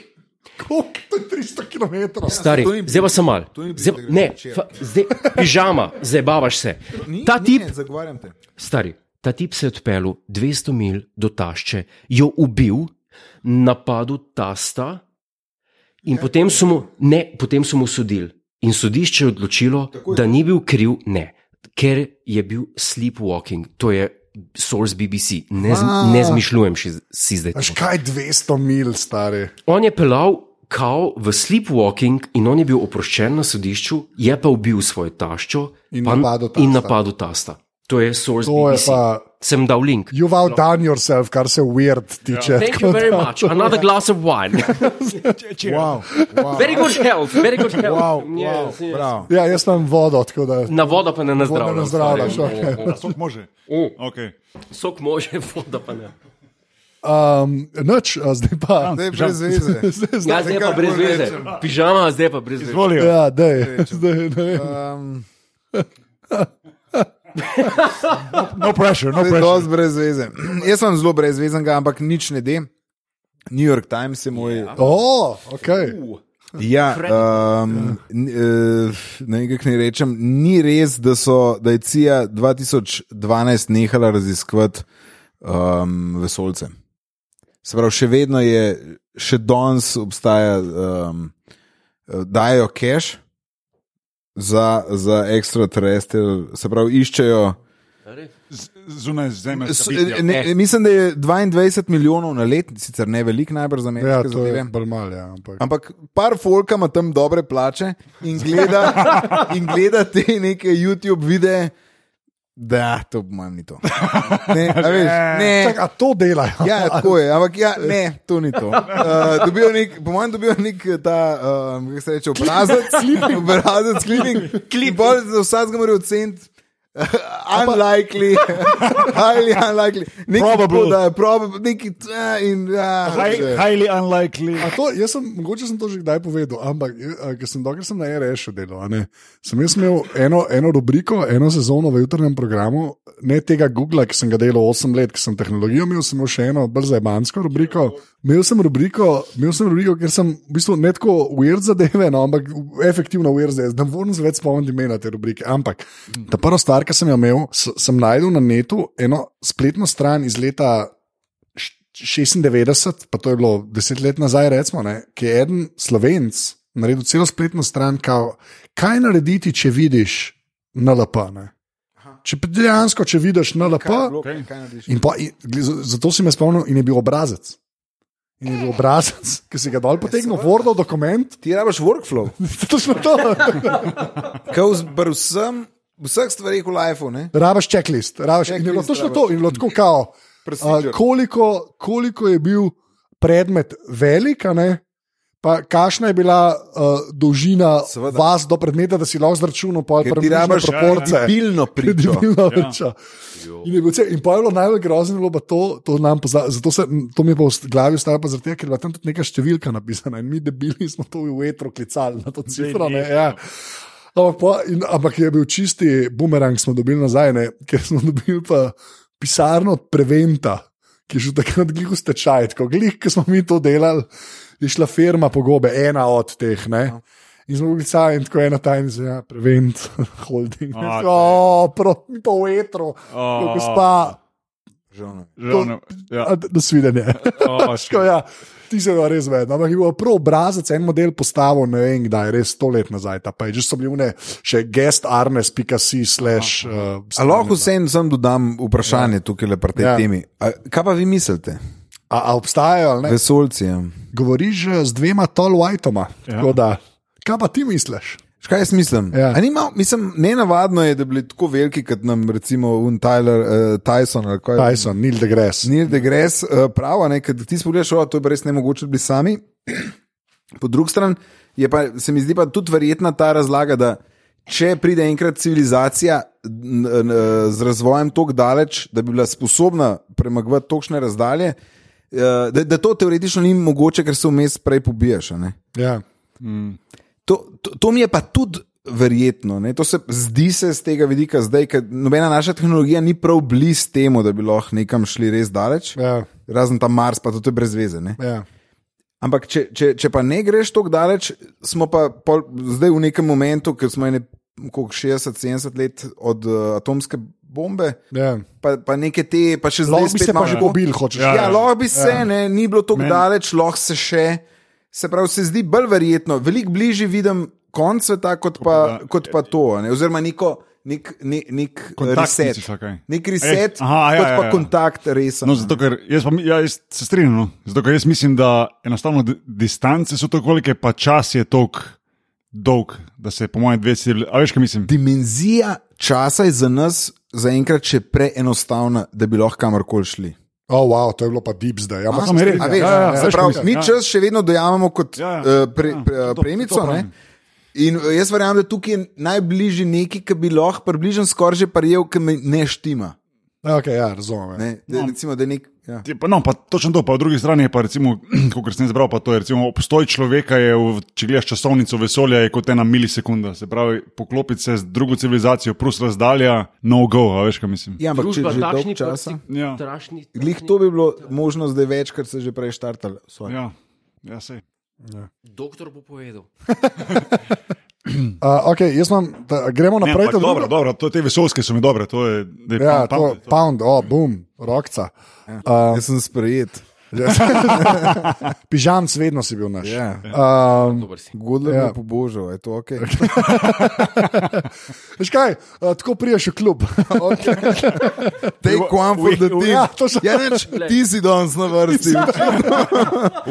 Koliko? To je 300 km.
stari,
to ni-
zdaj pa sem mal.
to ni
Zdaj,
bilo
ne,
včeraj.
fa, zdaj, pižama, zdaj bavaš se.
Ni,
Ta
ni,
tip,
Ne, zagovarjam te.
stari, ta tip se je odpeljal 200 mil do tašče, jo ubil, napadel tasta in potem so mu, ne, potem so mu sodili. In sodišče je odločilo, da ni bil kriv, ne, ker je bil sleepwalking, to je source BBC, ne, z, ne zmišljujem še z- si zdaj.
Veš
tega.
kaj 200 mil, stari.
On je pelal kao v sleepwalking in on je bil oproščen na sodišču, je pa ubil svojo taščo
In
pa-
napadel tasta.
in napadel tasta. To je source
To je
BBC.
pa.
Sem dal link.
You've outdone yourself, kar se weird tiče.
Ja. Thank
Tako
you very
da-
much. Another glass of wine.
Wow, wow,
Very good health, very good health.
wow,
Yes,
wow,
yes.
bravo.
Ja, jaz imam vodo, tako da.
Na vodo pa ne nazdravljam.
ne nazdravljaš,
stari.
okej.
O, o,
Sok može.
o, o,
Okay.
Sok može, voda pa ne.
Um, noč, a zdaj pa.
Zdaj brez veze.
Zdaj, zdaj,
Ja, zdaj pa
kar
brez
bolj
veze.
rečem.
Pižama, zdaj pa brez veze.
Izvolijo.
ja, dej, zdaj, ne vem.
Um,
No pressure, no
To je
pressure.
dosti brez veze. Jaz sem zelo brezvezenega, ampak nič ne de. New York Times je moj. Ja,
O, ok.
U,
ja
Fred-
um, ne vem, kako naj rečem. Ni res, da, so, da je CIA 2012 nehala raziskovati um, vesolce. Se pravi, še vedno je, še danes obstaja, um, dajo cache za, za extraterrestrial, se pravi, iščejo.
Z- Zunaj zemlje.
S- Ne, mislim, da je 22 milijonov na let, sicer ne veliko, najbrž za ameriške
Ja,
ja,
to je
zadeve.
bolj malo, ja, ampak.
Ampak par folka ima tam dobre plače in gleda, in gleda te neke YouTube videe, da to po mojem ni to. Ne, a veš, ne.
Čak, a to delajo?
Ja, tako je, ampak ja, ne, to ni to. Uh, dobijo nek, po mojem, dobijo nek ta, um, kako se reče, obrazec, obrazec, kliping. Klip. Za vsakega morajo oceniti. uh, unlikely, highly unlikely, nekaj
Probable.
podobnega, probably, nekaj uh, in uh,
High, highly unlikely.
A To, jaz sem, mogoče sem to že kdaj povedal, ampak eh, a, ker sem dokler sem na RS še delal, a ne, sem jaz imel eno, eno rubriko, eno sezono v jutrnem programu, ne tega Google, ki sem ga delal 8 let, ker sem tehnologijo imel, sem imel še eno bolj zajbansko rubriko. Imel sem rubriko, imel sem rubriko, ker sem v bistvu ne tako weird zadeve, no, ampak efektivno weird zadeve, da moram se več spomniti imena te rubrike. Ampak ta prva stvar, ki sem jo imel, s- sem najdel na netu eno spletno stran iz leta 96, pa to je bilo deset let nazaj, recimo, ne, ki je en slovenc naredil celo spletno stran, kao, kaj narediti, če vidiš NLP. Ne? Če pa dejansko, če vidiš NLP,
Okay. Kaj narediš?
in pa, in, gli- z- zato si me spomnil, in je bil obrazec. In je bil obrazec, ki si ga dol potegnil, vrnil dokument,
Ti rabiš workflow.
to smo to.
Kaj v vsem, vseh stvarih v lifeu, ne?
Rabaš checklist, rabaš checklist, in je bilo
Checklist
točno
rabiš.
to, in je bilo tako kao.
Procedure.
a, koliko, koliko je bil predmet velik, a ne? pa kakšna je bila uh, dolžina
Seveda.
Seveda. vas do predmeta, da si lahko zračunal, pa je
Ker ti rabiš
proporce.
Pilno pričo.
Kredibilna priča. In je bilo vse- in pa je bilo najbolj grozno, je bilo pa to, to nam pozna, zato se, to mi je pa v st- glavi ostalo, pa zaradi tega, ker je bila tam tudi neka številka napisana in mi debili smo to v vetru klicali na to cifro. Ne, ja. ampak, pa, in, ampak je bil čisti bumerang, smo dobili nazaj, ne, ker smo dobili pa pisarno od Preventa, ki je že takrat glih v stečaj, tako glih, ki smo mi to delali, je šla firma pogobe, ena od teh. Ne.
Ja.
In smo bili sami, in tako ena tajnica, ja, prevent, holding.
A,
Oh, O, pro, mi pa v etru, oh.
O.
gospa,
Žal ne.
Žal, ja.
a, nasvidenje.
O,
Tako, ja, ti se ga res vedno. Ampak je bil prav obrazec, en model postavo, ne vem kdaj, res sto let nazaj. Ta page so bili vne, še guest arnes.si slash. Uh,
A lahko vsem sem dodam vprašanje ja. tukaj le pri tej ja.
Ja.
temi. A, kaj pa vi mislite?
A, a obstajajo, ali ne?
Vesolci. Ja.
Govoriš eh, z dvema tall whiteoma. Ja. Kaj pa ti misliš?
Škaj jaz mislim?
Ja.
Ja. Nima, mislim ne navadno je, da bi bili tako veliki, kot nam recimo un Tyler, uh, Tyson ali kaj.
Tyson, Neil deGrasse.
Neil deGrasse uh, pravi, ne, ker ti spogledaš, o, to je pa res ne mogoče biti sami. Po drugi strani je pa, se mi zdi pa tudi verjetna ta razlaga, da če pride enkrat civilizacija n, n, z razvojem tako daleč, da bi bila sposobna premagovati točne razdalje, eh, da, da to teoretično ni mogoče, ker se vmes prej pobiješ. a ne.
Ja.
To, to, to mi je pa tudi verjetno, ne? to se zdi se z tega vidika zdaj, ker nobena naša tehnologija ni prav blizu temu, da bi lahko nekam šli res daleč.
Ja,
Razen ta Mars, pa tudi to je brez veze. Ne?
ja.
Ampak, če, če, če pa ne greš tako daleč, smo pa pol, zdaj v nekem momentu, ker smo ene, koliko, 60, 70 let od uh, atomske bombe,
ja.
pa, pa neke te, pa še zdaj
Lahko bi se pa
imamo
že
tako-
pobil, hočeš.
Ja,
Ja, lahko bi se,
Ja.
ja. ne, ni bilo tako
Meni-
daleč, lahko se še. Se pravi, se zdi bolj verjetno, veliko bližje vidim konc sveta, kot pa,
da-
kot pa to. a Ne? Oziroma, neko, nek, nek, nek
Kontakt
reset.
misliš, ali kaj?
Nek reset,
Eh, aha, ja,
kot
ja,
pa
ja.
kontakt, res.
No, zato, ker jaz, pa, mi- ja, jaz se strinjam. No. Zato, ker jaz mislim, da enostavno di- distance so tako velike, pa čas je tako dolg, da se po mojem dve cilji. A veš, kaj mislim?
dimenzija časa je za nas zaenkrat še preenostavna, da bi lahko kamorkoli šli.
Oh, wow, to je bilo pa deep zdaj. Ja, pa se
me res,
strinjam.
A
Ja,
Veš,
ja, ja,
se
veš,
pravi,
kaj mislim,
mi
ja.
čas še vedno dojamemo kot
Ja, ja,
eh, pre-
ja,
pre-
to- to
premico.
pravim.
ne. In eh, jaz verjamem, da tukaj je najbližji neki, ki bi lahko približno skoraj že parjel, ki me ne štima.
Okay, ja, razumem. ja.
Ne?
No.
Da, recimo, da je nek, ja.
Je Pa, no, pa točno to, pa po drugi strani je pa, kot sem zbral, pa to je recimo, obstoj človeka, je, v- če gledaš časovnico vesolja, je kot ena milisekunda. Se pravi, poklopiti se z drugo civilizacijo, plus razdalja, no go, a veš, kaj mislim.
ja, ampak če
Družba
že dolgo
takšni
časa.
Ja.
Trašni,
Glih to bi bilo možno zdaj več, ker se že prej štartali. sorry.
Ja, ja sej.
Doktor bo povedal.
Uh, okay, jaz imam, da, gremo
Ne,
naprej.
ampak
ta druga-
dobro, dobro, to, te vesolske so mi dobre, to je, da je
Ja,
pam- pam-
to, Ja. pound, oh, boom, rokca.
Jaz sem sprejet.
Pižamc, vedno Uh, si bil naš.
Ja.
Um,
Dober si.
Godler
Ja.
ja. me je pobožal, je to ok.
veš kaj, uh, tako priješ v klub.
Take one for the team.
Ja, to so-
Ja, neč, ti si danes na vrsti.
Ja.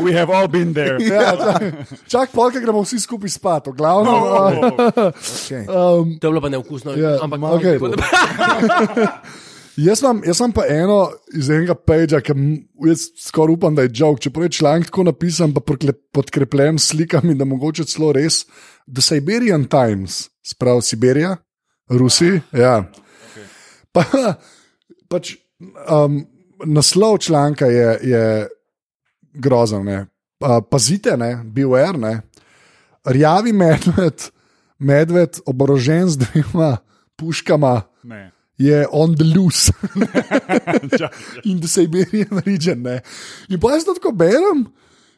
We have all been there.
ja, čak, čak polka gremo vsi skupaj spat, v glavnem. Uh,
Okay.
To je bilo pa neukusno,
Ja,
ampak
ma- okej. Jaz imam, jaz imam pa eno iz enega peča, ki m- jaz skoraj upam, da je žog. Čeprav je članek tako napisan, pa prikle- podkrepljen s slikami, da mogoče celo res. The Siberian Times, sprav Siberija, Rusi. Ja. Pa, pač, um, naslov članka je, je grozen. ne. Pa- Pazite, ne, beware, ne. Rjavi medved, medved oborožen z dvema puškama
Ne.
je on the loose
Čakaj,
in the Siberian region. Ne. In pa jaz to tako berem.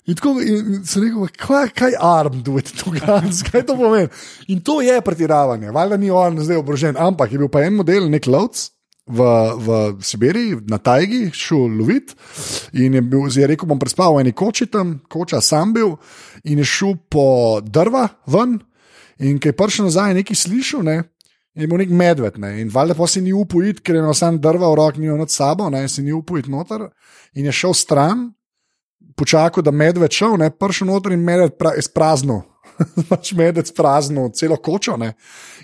In tako in in sem rekel, kaj je armed with two guns, kaj to pomeni. In to je pretiravanje, valjda ni on zdaj oborožen, ampak je bil pa en model, nek lovc. V, v Sibiriji, na Tajgi, šel lovit in je, bil, je rekel: Bom prespal v eni koči tam, koča sam bil, in je šel po drva ven, in ki je prišel nazaj, je nekaj slišal, ne, In je bil nek medved, ne? in valjda pa si ni upal iti, ker je imel sam drva v roki, ni imel nad sabo, ne? in si ni upal iti noter. In je šel stran, počakal, da medved šel, ne? pršel noter in medved pra, sprazno. pač medved sprazno, celo kočo. Ne?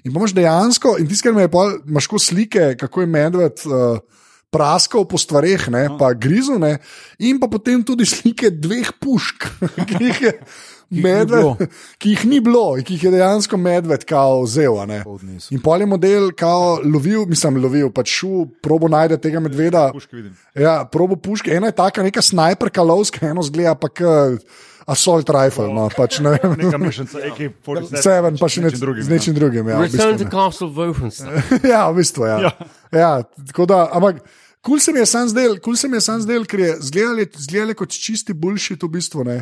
In pomaš dejansko, in tiskaj me je pa, imaš ko slike, kako je medved. Uh, Praskal po stvareh, ne, pa grizu, ne, in pa potem tudi slike dveh pušk, ki jih je medved, ki jih ni bilo, in ki jih je dejansko medved kao vzel. a ne. In pol je model, kao lovil, mislim, lovil, pač šel, probo najde tega medveda.
Puške vidim.
Ja, probo puške, ena je taka, neka snajperka lovska, eno zgleda pa k assault rifle, no, pač ne vem.
Neka mešanica, AK-47.
Ja. Seven, pa še nečim drugim.
drugim,
Z nečim drugim, ja. V
Return
bistvu,
to
ne.
Castle Wolfenstein.
ja, v bistvu, ja. ja.
Ja.
ja tako da, ampak kul se mi je sam zdel, kul se mi je sam zdel, ker je zgledali, zgledali kot čisti boljši, to v bistvu ne.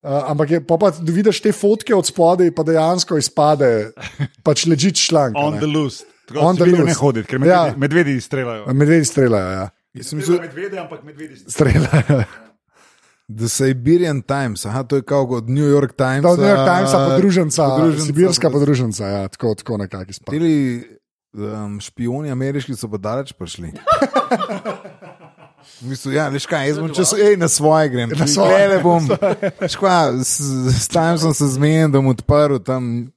Uh, ampak je, pa, pa vidiš te fotke od spodaj, pa dejansko izpade, pač leži članek. a ne.
On the loose. Tako
On
On
the
the loose. Ne
loose.
hoditi, ker
Ja.
medvedi, ja. medvedi streljajo.
Medvedi streljajo, ja.
Mislil... Medvede, ampak medvedi streljajo.
streljajo.
The Siberian Times, aha, to je kot od New York eh, Times.
Da, od New York Timesa, podruženca, podruženca,
podruženca,
sibirska podruženca,
podruženca.
ja, tako, tako nekako izpada.
Teli um, špioni ameriški so pa daleč prišli. V bistvu, ja, veš kaj, jaz bom čez ej, na svoje grem. Na svoje le bom. Škva, s, s tam sem se zmenil, da bom odprl tam.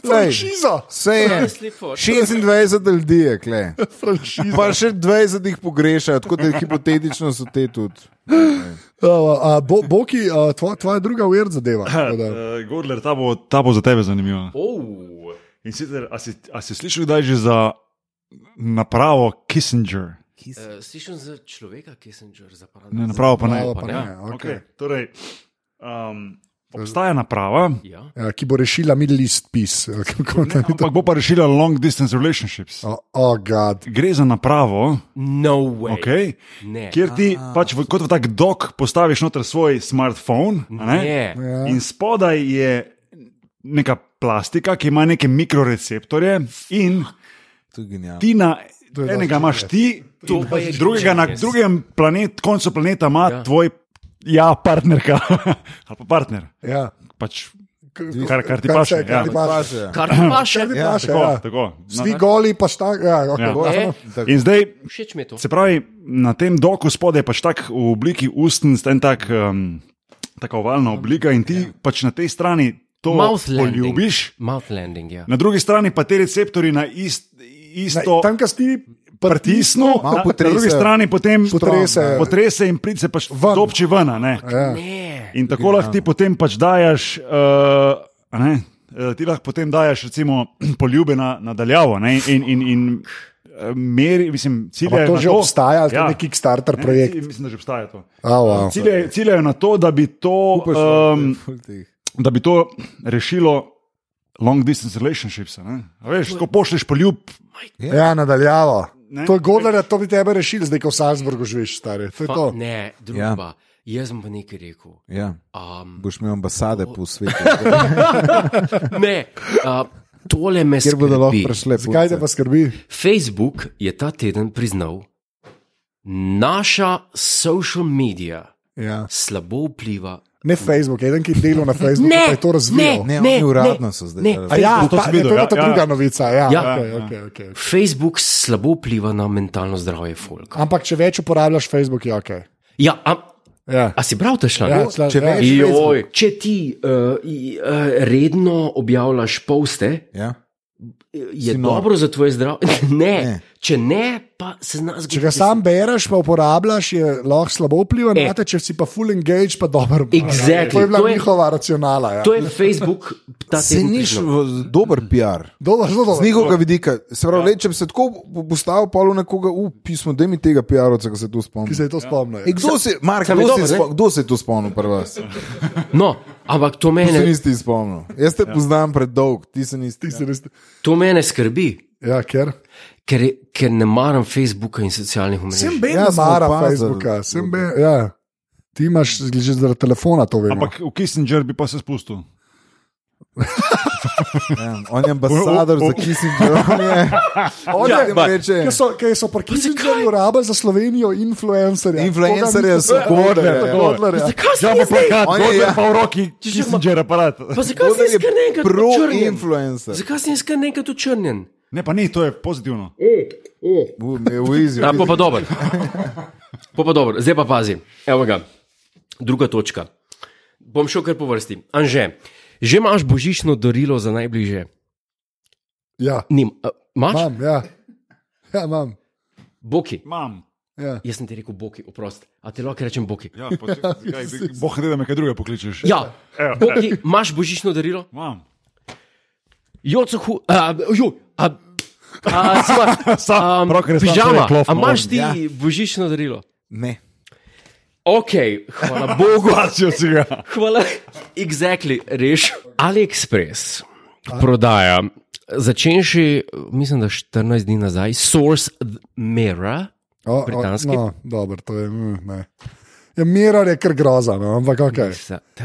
Sej,
Franšiza!
sej je. 26 ljudi je, kle.
Franšiza.
Pa še 20 jih pogrešajo, tako da hipotetično so te tudi.
Uh, a, bo, Boki, uh, tvoja, tvoja druga uvert zadeva. tako da.
Uh, Gordler, ta bo, ta bo za tebe zanimiva.
Oh.
In sicer, a si, a si slišal kdaj že za napravo Kissinger?
Uh, slišim za človeka, ki sem že zapravil.
Ne, napravo pa ne.
Napravo pa ne,
Ja,
okej.
okej. Torej, um, obstaja naprava,
Ja.
Ja, ki bo rešila Middle East peace. ali kako
ne,
naj to-
ampak bo pa rešila long distance relationships.
O, oh, god.
Gre za napravo,
No way.
okay,
Ne.
kjer ti pač v, kot v tak dok postaviš noter svoj smartphone. a Ne?
Ne.
Ja.
In spodaj je neka plastika, ki ima neke mikroreceptorje, in
To je genialno.
ti na
je dosti
enega imaš ti, pač
To pa je
drugega na
genius.
drugem planet, koncu planeta ima
Ja.
ja. tvoj. Ja, partnerka ali pa partner.
Ja.
Pač,
K-
Kar- kar ti
se-
paše,
Kar ti
ja.
paše.
Kar ti paše.
Kar ti
Ja,
paše,
tako,
ja.
tako. Na-
Svi goli, pa šta. Ja, okay,
No, Ja.
bo,
Ne.
Tako.
In zdaj
Všeč mi je to.
Se pravi, na tem doku spodaj je pač tak v obliki ustnic, en tak, um, tako ovalna oblika in ti ja. pač na tej strani to
Mouth landing.
poljubiš,
Mouth landing, ja.
na drugi strani pa ti receptori na ist,
Na,
isto.
tam, kjer ti
Pritisnu, ja,
Malo
na, na
potresejo.
drugi strani potem
Potresejo.
potrese in pride se pač
Ven.
dopči ven. a Ne?
Ja,
Ne.
In tako lahko ti potem pač dajaš, uh, ne, eh, ti lahko potem dajaš recimo poljube na, nadaljavo ne, in, in, in eh, meri, mislim, ciljajo
Ampak to
na Ja,
že obstaja, ali to je nek Kickstarter
Ne,
projekt?
cilj- Mislim, da že obstaja to.
A, wow.
Ciljajo, ciljajo na to, da bi to,
ja.
um, da bi to rešilo long distance relationships. a Ne? A Veš, ko pošleš poljub,
Ja, nadaljavo.
Ne.
To je gore, da to bi tebe rešili, zdaj ko v Salzburgu živiš, stari. To je to.
Pa, ne, druga. Ja. Jaz bom pa nekaj rekel.
Ja,
Um,
boš imel ambasade po svetu,
ne, uh, tole me
kjer bodo lahko
skrbi.
prišle.
Zakaj te pa skrbi?
Facebook je ta teden priznal, naša social medija
Ja.
slabo vpliva.
Ne Facebook, eden, ki je delal na Facebooku,
Ne,
pa je to razvil.
Ne,
Ne,
oni
ne,
uradno so zdaj.
ne.
delali.
A ja,
To
ta,
sem
je, to
videl,
je
ja,
ta
ja.
druga novica. Ja,
Ja.
Okay, okay, okay.
Facebook slabo vpliva na mentalno zdravje folka.
Ampak če več uporabljaš Facebook, je ok.
Ja, a,
Ja.
a si prav te šla?
Ja, sla-
če
ja.
veš-
Joj, če ti uh, i, uh, redno objavljaš poste, eh,
Ja.
je
Si nor.
dobro za tvoje zdravje. Ne,
Ne.
ne, če ne, pa se znaš
Če ga sam bereš, pa uporabljaš, je lahko slabo vpliva
E.
na te, če si pa full engage, pa dobro. uporabljaš.
Exactly.
To je bila
To je-
njihova racionala. Ja.
To je Facebook, ta
Se
teden
niš
priznal.
v- dober PR.
Dobro, zelo
Z
dobro.
njihovega vidika, se pravi, ja. le, če bi se tako po- postavil, pa v nekoga, upismo, da mi tega PR-ovca, ki se tu
Ki
spomni.
se je to spomnil. ja.
E, kdo, se, Mark,
Sam je
kdo,
dober,
se
ne?
spo, kdo se je tu spomnil pri vas?
No, ampak to
Ti se
mene,
nisi spomnil. Jaz te ja. poznam predolg, ti se nisi.
Ti si res-
to mene skrbi,
Ja, ker.
ker, je- ker ne maram Facebooka in socialnih
Sem
omrežij.
bil
Ja,
na
mara Facebooka, sem bil. Ja. Ti imaš že zaradi telefona to vemo.
ampak v Kissinger bi pa se spustil.
Ja, on je ambasador
O, o, o.
za Kissinger. on je- On
Ja,
je jim
ampak-
reče.
Ker so, ker so parkirali rabe za Slovenijo influencerje.
Influencerje so Godler, ja.
Godler. ja.
Zakaj se
Ja,
mi
pa
zdaj?
plakat,
On je,
on je
ja.
pa v roki Kissinger aparat.
Pa zakaj si jaz kar nekaj očrnjen?
Pro-influencer.
Zakaj si jaz kar nekaj očrnjen?
Ne, pa ni, to je pozitivno.
E, U, me je ujezil.
Ja, pa pa dober. Pa pa dober. Zdaj pa pazi. Evo ga. Druga točka. Bom šel kar po vrsti. Anže, že imaš božično darilo za najbližje?
Ja,
Nim, a, imaš?
imam, ja. Ja, imam.
Boki.
Imam.
Ja.
Jaz sem ti rekel, boki, oprosti. A ti lahko rečem, boki.
Ja, pa če- zakaj bi- Boh ne da me kaj drugega pokličeš.
Ja, boki, imaš božično darilo?
Imam.
Joco, hu, a, ju, a, a, sva,
Sam,
am,
pravkar je sam
pižama,
človek klof
a imaš
on.
ti
Ja.
božično darilo?
Ne.
Ok, hvala Bogu.
Plačil Pač si ga.
Hvala. Exactly, reš. AliExpress prodaja, začenši, mislim, da 14 dni nazaj, Source Mera.
O, o,
Britanski?
No, dobro, to je. Mm, ne. ja, Mirar je kar groza, no, ampak ok.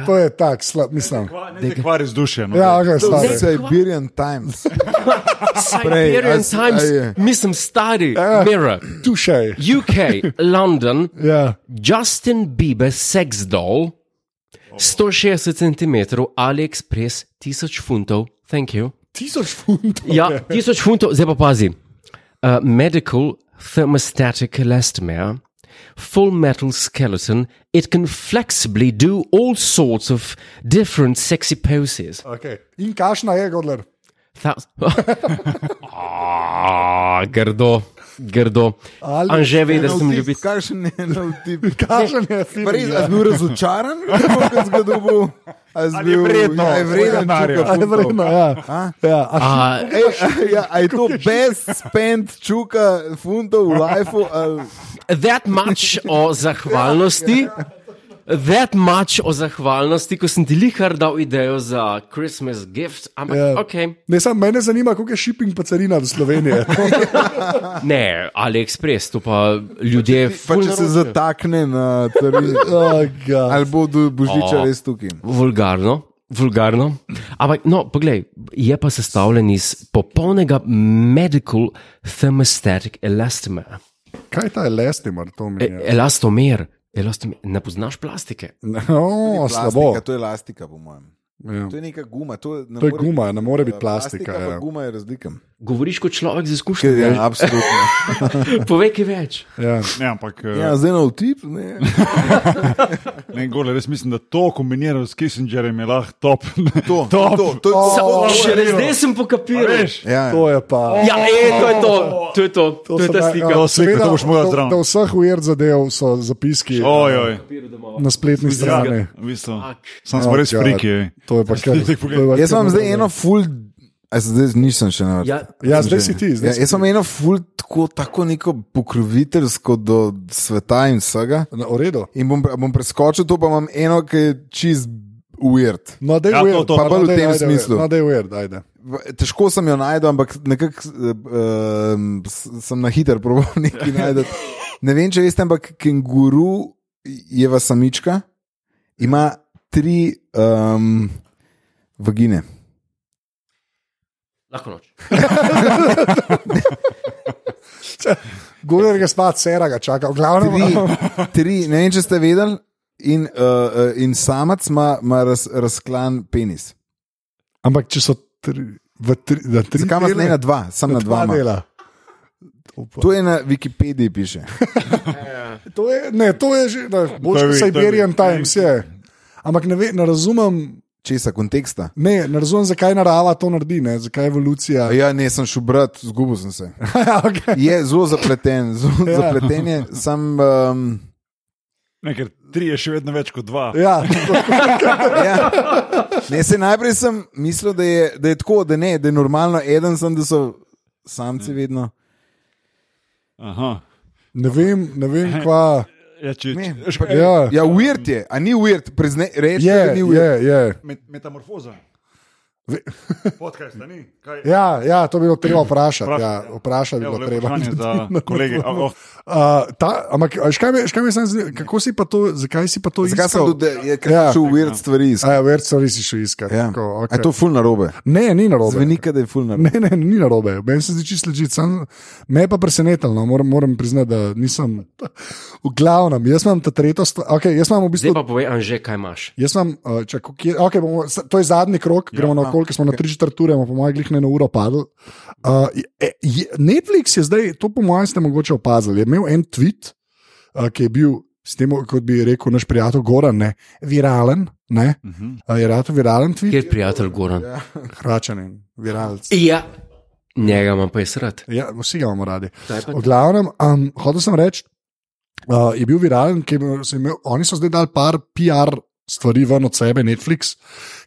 To je tak, slab, mislim.
Ne te kvari z dušem. No.
Ja, ok, slab. je.
Siberian Times. Prej,
Siberian
a s-
Times,
a je.
mislim, stari,
Ja.
Mera.
Tušej.
UK, London,
Ja.
Justin Bieber, sex doll, 160 cm, AliExpress, 1000 funtov, thank you.
Tisoč funtov.
Ja, 1000 funtov, zdaj pa pazi. Uh, medical thermostatic elastomer, Full Metal Skeleton, it can flexibly do all sorts of different sexy poses.
Okay. In kašna je, Godler.
Thous- Ah, grdo, grdo.
Ali-
Anže ve, da sem ljubitelj.
Kakšen je nov tip?
Kašen je, film,
Pa Res,
ja.
a si bil razočaran, ko si ga dobil? A si
Ali je
bil
vredno?
Ja, je vreden
Denarja.
čuka
A je
funtov?
vredno, ja. ja. A,
A,
Ej, a, ja, a je to best spent čuka funtov v lifeu? ali-
that much o zahvalnosti. That much o zahvalnosti, ko sem ti lihar dal idejo za Christmas gift, ampak
ja.
yeah. ok.
Ne, samo mene zanima, koliko je shipping pa carina do Slovenije.
Ne, AliExpress, to pa ljudje.
Pa
ful
pač če se
naročijo.
zatakne na trg,
oh, God.
ali bo do božiča
O.
res tukaj.
Vulgarno. Vulgarno. Ampak, no, poglej, je pa sestavljen iz popolnega medical thermostatic elastomera.
Kaj je ta elastimer, to mi
E,
Ja.
je?
elastomer, elastomer, ne poznaš plastike.
No, slabo.
Plastika, to je elastika, po mojem.
Ja.
To je neka guma. To, ne
To je
more
guma, ne more biti
plastika,
plastika,
pa
ja.
Guma je razlika.
Govoriš kot človek z izkušnjami.
Ja,
Ja.
absolutno.
Povej, kaj več.
Ja.
Ne, ampak eh,
Ja, zdaj na vtip. Ne.
ne, gole, res mislim, da to kombinirano s Kissingerjem je lahko top.
To,
Top.
to, to,
O,
to,
Še zdaj sem pokapiral.
Veš,
ja,
To je pa.
Ja, e, to je to, to je to, to je
so
ta
me-
slika.
ja,
To slika,
seveda,
to boš mogla
do-
zraven.
Do vseh ujerd zadev so zapiski
ojoj.
na spletni strani.
V bistvu.
Ak.
Sam smo
Oh,
res
God.
friki.
To je pa kar.
Zdaj
to je
pogledaj.
pa
ja. Jaz
kar
imam zdaj
narobe.
eno ful. A se zdaj nisem še na vrsti.
Ja,
Ja, zdaj si ti.
Ja,
Zdaj si.
jaz imam eno ful, tako, tako neko pokroviteljsko do sveta in vsega.
Na No, redu.
In bom, bom preskočil to, pa imam eno, ki je čist weird.
No, da je
Ja, to,
ujerd.
to,
pa bolj v tem smislu.
No, da je ujerd, ajde.
V- Težko sem jo najdel, ampak nekako uh, sem na hiter probal nekaj najti. Ne vem, če veste, ampak kenguru je vas samička, ima tri um, vagine.
lahko noč.
Guler ga spat, sera ga čaka, glavno.
tri, tri, ne vem, če ste vedeli. In, uh, uh, in samac ima ima raz, razklan penis.
Ampak če so tri, v tri, na tri
Zakaj imaš ne na dva, samo na
dva
dva? ima.
dela.
To je na Wikipediji piše.
To je, ne, to je že, da, boš
To je-
kot
to je-
Siberian Times je. Ampak ne, ve, ne razumem,
Česa, konteksta?
ne, ne razumem, zakaj narava to naredi, ne, zakaj evolucija.
Ja, ne, sem šel brat, zgubil sem se.
Ja, okay.
Je zelo zapleten, zelo
Ja.
ja. zapleten je. Sam, um,
Ne, ker tri je še vedno več kot dva.
ja
ja. ne, se najprej sem mislil, da je, da je tako, da, ne, da je normalno, eden sem, da so samci
Mm.
vedno.
Aha.
ne vem, ne vem, kva.
Ja, če,
Ne.
če, še pa,
Ja,
Ja, uvert je, a ni uvert, reči, da
je,
ni
je,
uvert.
je.
met, metamorfoza.
Ve-
Podcast, a ni? Kaj?
Ja, ja, to bi bilo treba vprašati.
Vprašaj,
Ja, vprašati bi
Evo,
bilo
lepo
treba.
vprašanje za kolege. A, oh,
Uh, ta, ampak, a veš, kaj me, veš, kaj me samo zanima, kako si pa to, zakaj si pa to
Zakaj sem
iskal?
tudi, da je
Ja.
ja. šel uvert stvari iskati?
A, ja, ver, sorry, si šel iskat.
Ja.
Tako,
A
okay.
je to ful narobe.
Ne, ni narobe.
Zveni, kot da je ful narobe.
Ne, ne, ni narobe, meni se zdi čisto ležite. Me je pa presenetilo, no, moram, moram priznati, da nisem. V glavnem, jaz imam ta tretjo stvar. Okay, jaz imam v bistvu.
Zdaj pa povej, Anže, kaj imaš.
Jaz imam, uh, če, kje, okay, bomo, s- to je zadnji krok, gremo na okolje, smo na tri četrt ure, bomo po mojem, glih na eno uro padli. Uh, je- je- Netflix je zdaj, to po mojem, ste mogoče opazili. Je imel en tweet, uh, ki je bil, s tem, kot bi rekel naš prijatelj Goran, ne, viralen. Ne,
uh -huh.
uh, je rado viralen tweet,
Kjer prijatelj Goran? Ja.
hračanen, viralc.
Njega imam pa jaz rad.
Ja, vsi ga imamo radi.
Kaj pa
V glavnem, um, hotel sem reči, uh, je bil viralen, ki je se imel, oni so zdaj dali par PR stvari ven od sebe, Netflix.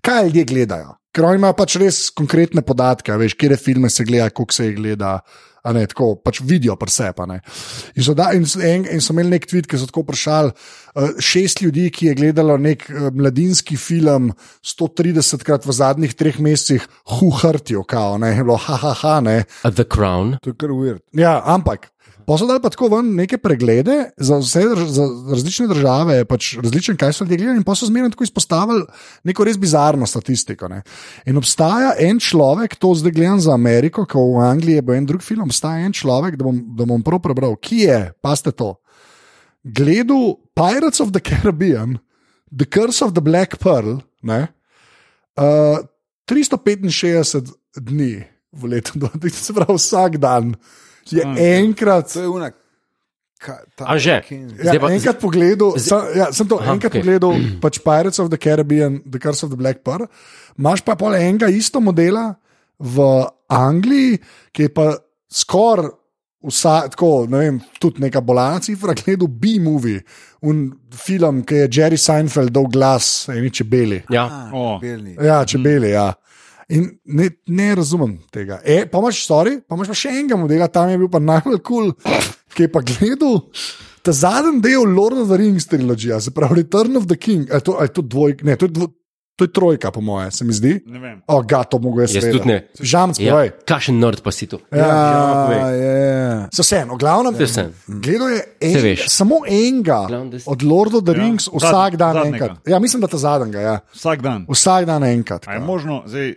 Kaj ljudje gledajo? Ker oni imajo pač res konkretne podatke, a veš, kje filme se gleda, koliko se jih gleda. a Ne, tako pač vidijo, presep. In, so da- in, so- en, in so imeli nek tweet, ki so tako vprašali uh, šest ljudi, ki je gledalo nek uh, mladinski film 130 krat v zadnjih treh mesecih, huhrtijo, kao, ne, je bilo, ha, ha, ha, ne.
A The Crown.
To je kar uvert.
Ja, ampak. Pa so dali pa tako ven neke preglede za vse drž za različne države, pač različne, kaj so ljudje gledali, in pa so zmerno tako izpostavili neko res bizarno statistiko. Ne. In obstaja en človek, to zdaj gledam za Ameriko, ko v Angliji je bil en drug film, obstaja en človek, da bom, da bom prav prebral, ki je, paste to, gledal Pirates of the Caribbean, The Curse of the Black Pearl, ne, uh, 365 dni v letu, se pravi vsak dan. Je enkrat,
To je unak. Ka, ta,
Anže,
Ja,
zdaj pa-
enkrat pogledal, sem, ja, sem to Aha,
Aha,
enkrat okay.
okej.
pogledal, pač Pirates of the Caribbean, The Curse of the Black Pearl. Imáš pa pol enega isto modela v Angliji, ki je pa skoraj. Vsa, tako, ne vem, tudi neka bolna cifra, gledal B-movie, un film, ki je Jerry Seinfeld dal glas eni čebeli.
Ja,
O.
Belni.
Ja, čebeli, ja. In ne, ne razumem tega. E, pa imaš, sorry, pa imaš pa še enega modela, tam je bil pa najbolj kul, cool, ki je pa gledal ta zadnji del Lord of the Rings trilogije, se pravi Return of the King. A je to, a je to, dvoj, ne, to, je dvo, to je trojka, po moje, se mi zdi.
Ne vem.
O, ga, to mogo jaz
Jaz
vedeti.
tudi ne.
Žamc,
ja.
povej.
kakšen nerd pa si to.
Ja,
povej.
ja.
Se vsem, glavno,
vseeno.
Mm. gledal je
Saj
en,
veš.
samo enega
Glavno, da si-
od Lord of the
Ja,
Rings,
zadnj-
vsak dan
zadnjega.
enkrat. Ja, mislim, da ta zadnjega, ja.
Vsak dan.
vsak dan enkrat.
A je
ja.
možno zdaj.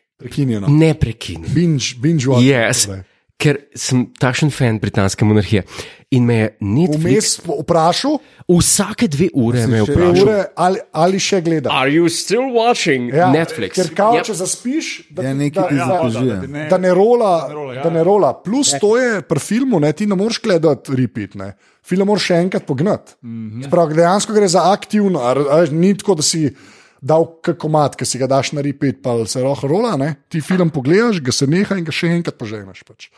prekinjeno. torej.
ne prekinjen.
Binge, binge watch.
Yes, ker sem takšen fan britanske monarhije in me je Netflix
Vmes po- vprašal,
vsake dve ure me je
še-
dve
vprašal.
ure, ali, ali še gleda.
Are you still watching Netflix?
Ker kao,
Yep.
yep. če zaspiš, da,
Ja,
ti-
nekaj
da,
ti
da,
zapiš.
da, da, ne,
da ne rola.
ne rola, ja.
Da ne rola. Plus to je pri filmu, ne, ti ne moreš gledati repeat. Ne. Film moraš še enkrat pognati.
Mhm.
Mm -hmm. Dejansko gre za aktivno, a, a, ni tako, da si dal kak komat, ki si ga daš na repeat, pa se roh rola. Ne. Ti film pogledaš, ga se neha in ga še enkrat poženeš. Pač.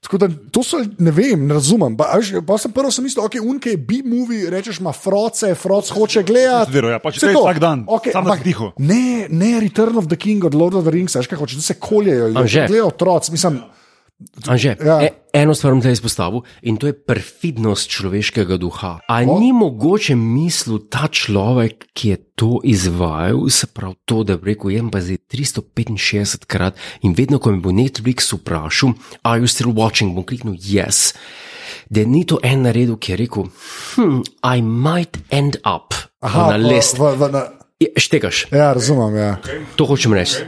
Tako da to so, ne vem, ne razumem. Pa, a veš, pa sem prvo sem mislil, ok, unke je B-movie, rečeš, ima froce, froc hoče gledati.
Zdero, ja, pač
Vse
to je
to.
vsak dan,
Okej,
samo da
ampak
si tiho.
Ne, ne, Return of the King od Lord of the Rings, veš kaj hočeš, da se koljejo,
Anže.
gledajo otroci. Mislim,
Anže,
Ja.
ja. e, eno stvar bom tle izpostavil in to je perfidnost človeškega duha. Ali ni mogoče mislil ta človek, ki je to izvajal, se pravi to, da bi rekel, jem pa zdaj 365 krat in vedno, ko me bo Netflix vprašal, are you still watching, bom kliknil yes. Da ni to en naredil, ki je rekel, hmm, I might end up Aha, na
v-
list.
v- v- na,
Je, Štekaš,
ja, razumem. Ja.
to hočem reči.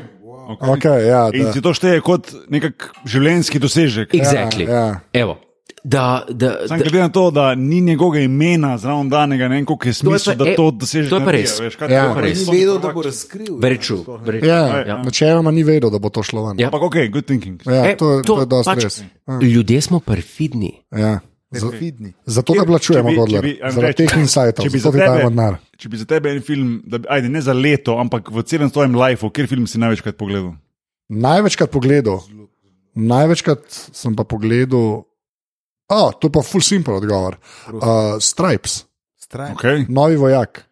Okay, ja, da,
In ti to šteje kot nek življenjski dosežek.
Exactly.
ja.
Evo. Da, da,
Sam glede na to, da ni njegovega imena zraven danega, ne vem, koliko je
je
smisel,
pa-
da
e,
to dosežeš.
to je pa
na
res.
TV, veš, kaj
Ja.
to je pa res.
Ni vedel, da bo razkril.
Very true. Very true.
ja, ja. Načeloma ni vedel, da bo to šlo ven.
Ja.
Ampak ok, good thinking.
Ja,
E,
to, to je dosti pač, res.
Ljudje smo perfidni.
Ja. Z-
Perfidni.
Zato ga plačujemo, Godler, zaradi teh insightov,
Če bi,
zato ti dajemo denar.
če bi za tebe en film, da bi, ajde, ne za leto, ampak v celem svojem lifeu, kjer film si največkrat pogledal?
Največkrat pogledal, največkrat sem pa pogledal, a oh, to je pa full simple odgovor. Uh, Stripes,
Stran.
Okay.
novi vojak,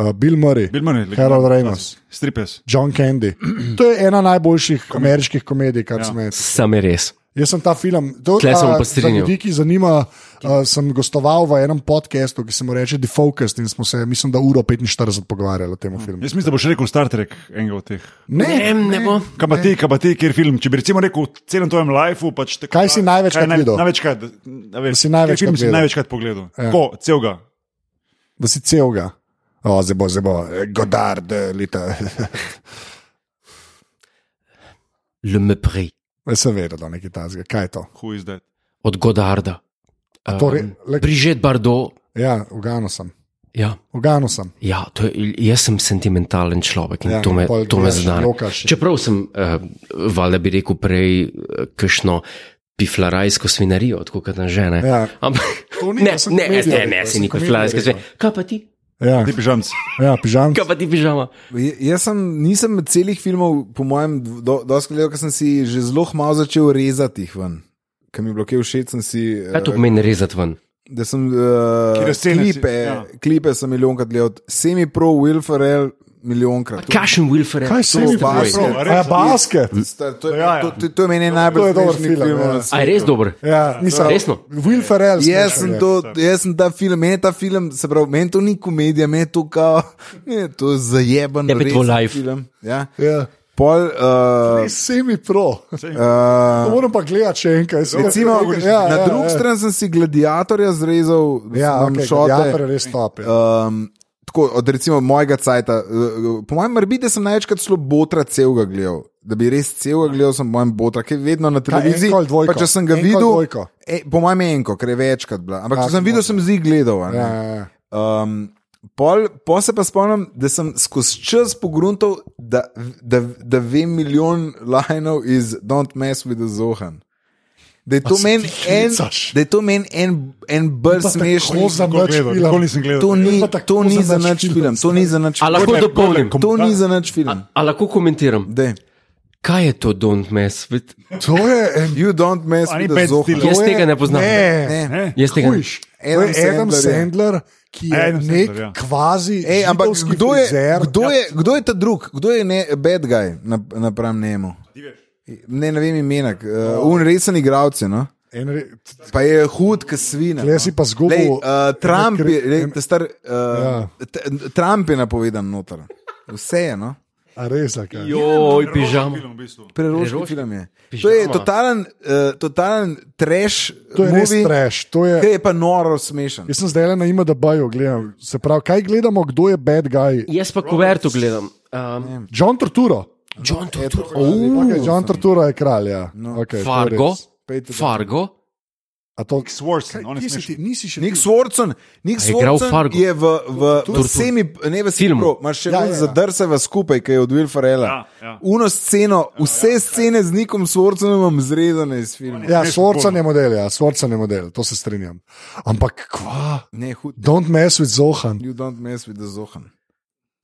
uh, Bill Murray,
Bill Murray, ja,
Harold
legendarni
Reynolds.
čas. Stripes.
John Candy. To je ena najboljših ameriških komedij, kar ja.
Ja.
sem jaz.
Sam je res.
Jaz sem ta film, to
Tle se bom
a,
pa
za
strinjal.
ljudi, ki zanima, uh, sem gostoval v enem podkastu, ki se mu reče Defocused in smo se, mislim, da uro 45 pogovarjali o tem filmu.
Jaz mislim, da boš rekel Star Trek, enega od teh.
Ne,
Ne, ne bo.
Kaj pa ti, kaj pa ti, kjer film? Če bi recimo rekel v celem tvojem lifeu, pač te,
Kaj si največkrat
naj-
videl?
Največkrat, a veš,
Si največkrat
kateri film si
gledal?
največkrat pogledal. Ja. Ko, celega.
da si celega. O, zdaj bo, zdaj bo, eh, Godard, eh, leta.
Le Mepri
Jaz sem vedel, da je nekaj tazga. Kaj je to?
Who is that?
od Godarda.
torej, le-
Prižet Bardo.
Ja, ugano sem.
Ja,
Ugano sem.
ja to je, jaz sem sentimentalen človek in
Ja,
ja, to me,
pol
to me
gledaš,
zdane.
lokaš.
Čeprav sem, uh, valjda bi rekel, prej eh, kakšno piflarajsko svinarijo, tako kot na žene.
Ja.
Ampak,
To ni,
ne,
to sem
ne, ne,
komedijo
ne,
rekel,
ne,
to
si
sem
ni
komedijo
piflarajska
rekel.
svinarija. Kaj pa ti?
Ja,
Ti pižamci.
ja pižam.
Kaj pa ti pižama?
J- Jaz sem, nisem med celih filmov, po mojem, do- dosti gledal, ker sem si že zelo malo začel rezati jih ven. Ker mi je bilo kaj všeč, sem si. eh,
Kaj Ja,
Eh,
to pomeni rezati ven?
Da sem uh,
Katere scene si-
klipe, ja.
ja.
klipe sem milijonkrat gledal, semi pro, Will Ferrell, milijonkrat.
Kašen Wilfred.
Kaj se mi
Basket.
zdi?
Prav,
Ja,
res.
basket.
Star, to, je,
Ja, ja.
to, to, to je meni
To je
najbolj
dober
smešnih
film,
filmov
ja.
na
A je res dober?
Ja, nisem.
Resno?
Will Ferrell.
Jaz
smešen
sem,
je.
to, jaz sem ta film, meni ta film, se pravi, meni to ni komedija, meni je to kao, meni je to zajeben,
Je pa tvoj
resen
life.
film. Ja.
Ja.
Pol, uh,
Semi pro.
uh,
Moram pa gledati še enkaj.
Recimo, ja, na drugi strani sem si gladiatorja zrezal,
Ja,
ja, okay,
okay,
šote.
Gladiator je res top, ja.
Um, tako, od recimo mojega cajta, eh, po mojem, morda sem največkrat celo botra celega gledal. Da bi res celega gledal, sem po mojem botra, ki je vedno na televiziji.
enko ali dvojko?
pa če sem ga
Enko ali
videl,
dvojko?
e, po mojem je enko, ker je večkrat bila. Ampak
Ja,
če sem videl, sem zdaj gledal. a ne.
Ja, ja, ja.
Um, pol, pol se pa spomnim, da sem skozi čas pogruntov, da, da, da vem milijon lajnov iz Don't Mess with the Zohan. Da je to
se
meni
ti
en,
hecaš?
da je to meni en, en bolj smešen.
za
Nikoli
nič
gledal,
film.
nikoli nisem gledal.
To ni,
pa tako
to ni
za
za
nič
nič
film.
film, to ni za nič
A
film.
lahko
Gordon,
dopolnim?
Gordon,
To ni za nič film.
A lahko komentiram?
Dej.
Kaj je to don't mess with?
To je en
You don't mess
A ni
with the
Ben
Zohan.
Stiller?
Jaz
to je-
tega ne poznam.
Ne,
Ne.
Jaz tega ne.
Hujš. To
Adam
je Adam
Sandler je.
Sandler, ki je
Adam Sandler,
nek
ja.
kvazi.
Ej, ampak
židovski ja.
kdo je,
frizer.
kdo, je, kdo je ta drug, kdo je ne, bad guy na- napram njemu? Ne, ne vem imena,
No.
uh, un resen igralec. No?
Ja, En re-
Pa je hud, ki svina. no.
Tule si pa zgubil-
Lej, uh, Trump, je, lej,
en-
ta star, uh, ja. Trump je napovedan noter. Vse je, no?
A res, a kaj?
Joj, pižam.
Preroški
Preroški?
film je.
Pižama.
To je totalen, uh, totalen trash.
To je res
movie,
trash. To je,
Ki je pa noro smešen.
jaz sem zdaj le na ima, da bajo gledam. Se pravi, kaj gledamo, kdo je bad guy?
Jaz pa kuverto gledam. Um,
John Torturo.
No,
John Turturro.
Okay, John Torturo Pač je kralj. Ja. Okay, to je
Fargo.
res.
Pejte, da-
Fargo.
A to-
Swarson, on je
Kje si ti?
smešen.
Nisi še
Nik Swartzen, Nik
A je igral
Swartzen
Fargo?
je v, v, v
Tortur.
semi, ne v
Filmu.
filmu, imaš še
Ja,
ja,
ja, ja.
ja. zadrseva skupaj, ki je od Will Ferrella.
Ja, ja.
Uno sceno, vse scene z Nikom Swartzenom imam zrezane iz filma.
Ja,
Smešen
Svorcen je model, ja, Svorcen je model, to se strinjam. Ampak, kva,
Ne, hud.
don't mess with Zohan.
You don't mess with the Zohan.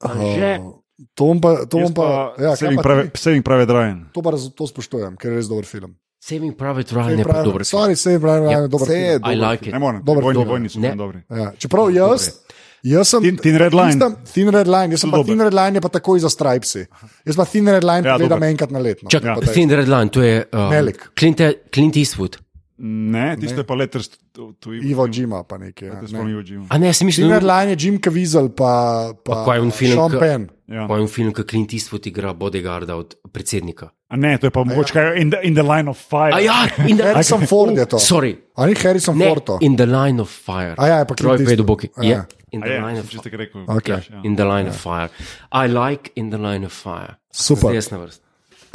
Anže.
Oh, to bom pa, to bom
Jaz
pa, ja, kaj
Saving
pa
Prave-
ti?
Saving Private Ryan.
to pa raz, to spoštujem, ker je res dober film.
Saving Private Ryan je pa dober. film. Ja,
Stvari se jim pravi, da je dober
Saj je
film.
I like it.
Ne morem,
Dobro,
vojni,
dobro.
vojni so
Ne.
tam dobri.
Ja, čeprav jaz, jaz sem.
Thin- Thin Red Line.
Tistem, thin Red Line, jaz sem pa
Dober.
Thin Red Line, je pa takoj za Stripesi. Jaz pa Thin Red Line
Ja,
ja, gledam
dober.
enkrat na leto.
Čak,
ja.
Thin Red Line, to je um,
Velik.
Clint, Clint Eastwood.
Ne, tisto je pa letters to to
Ivo
Ivo.
Jima pa nekaj. Ja,
To je
ne.
spomnil Jim.
A ne, sem
Thin
mislil,
Red
da
Line je Jim Caviezel pa, pa,
kaj je on film,
Sean
ke-
Penn.
Ja.
je film, ki Clint Eastwood igra bodyguarda od predsednika.
A Ne, to je pa mogoče kaj in the, in the line of fire.
ja. A ja, in the,
Harrison Ford je to.
sorry,
Ali Harrison
ne,
Ford to?
in the line of fire.
A ja, je pa Clint
Troy
Eastwood.
Pedoboki.
A ja.
Ja, in
A
the
je,
line of
sem čiste rekel.
Okej.
Ja.
In the line of fire. I like in the line of fire.
Super.
Zdaj Jaz na vrst.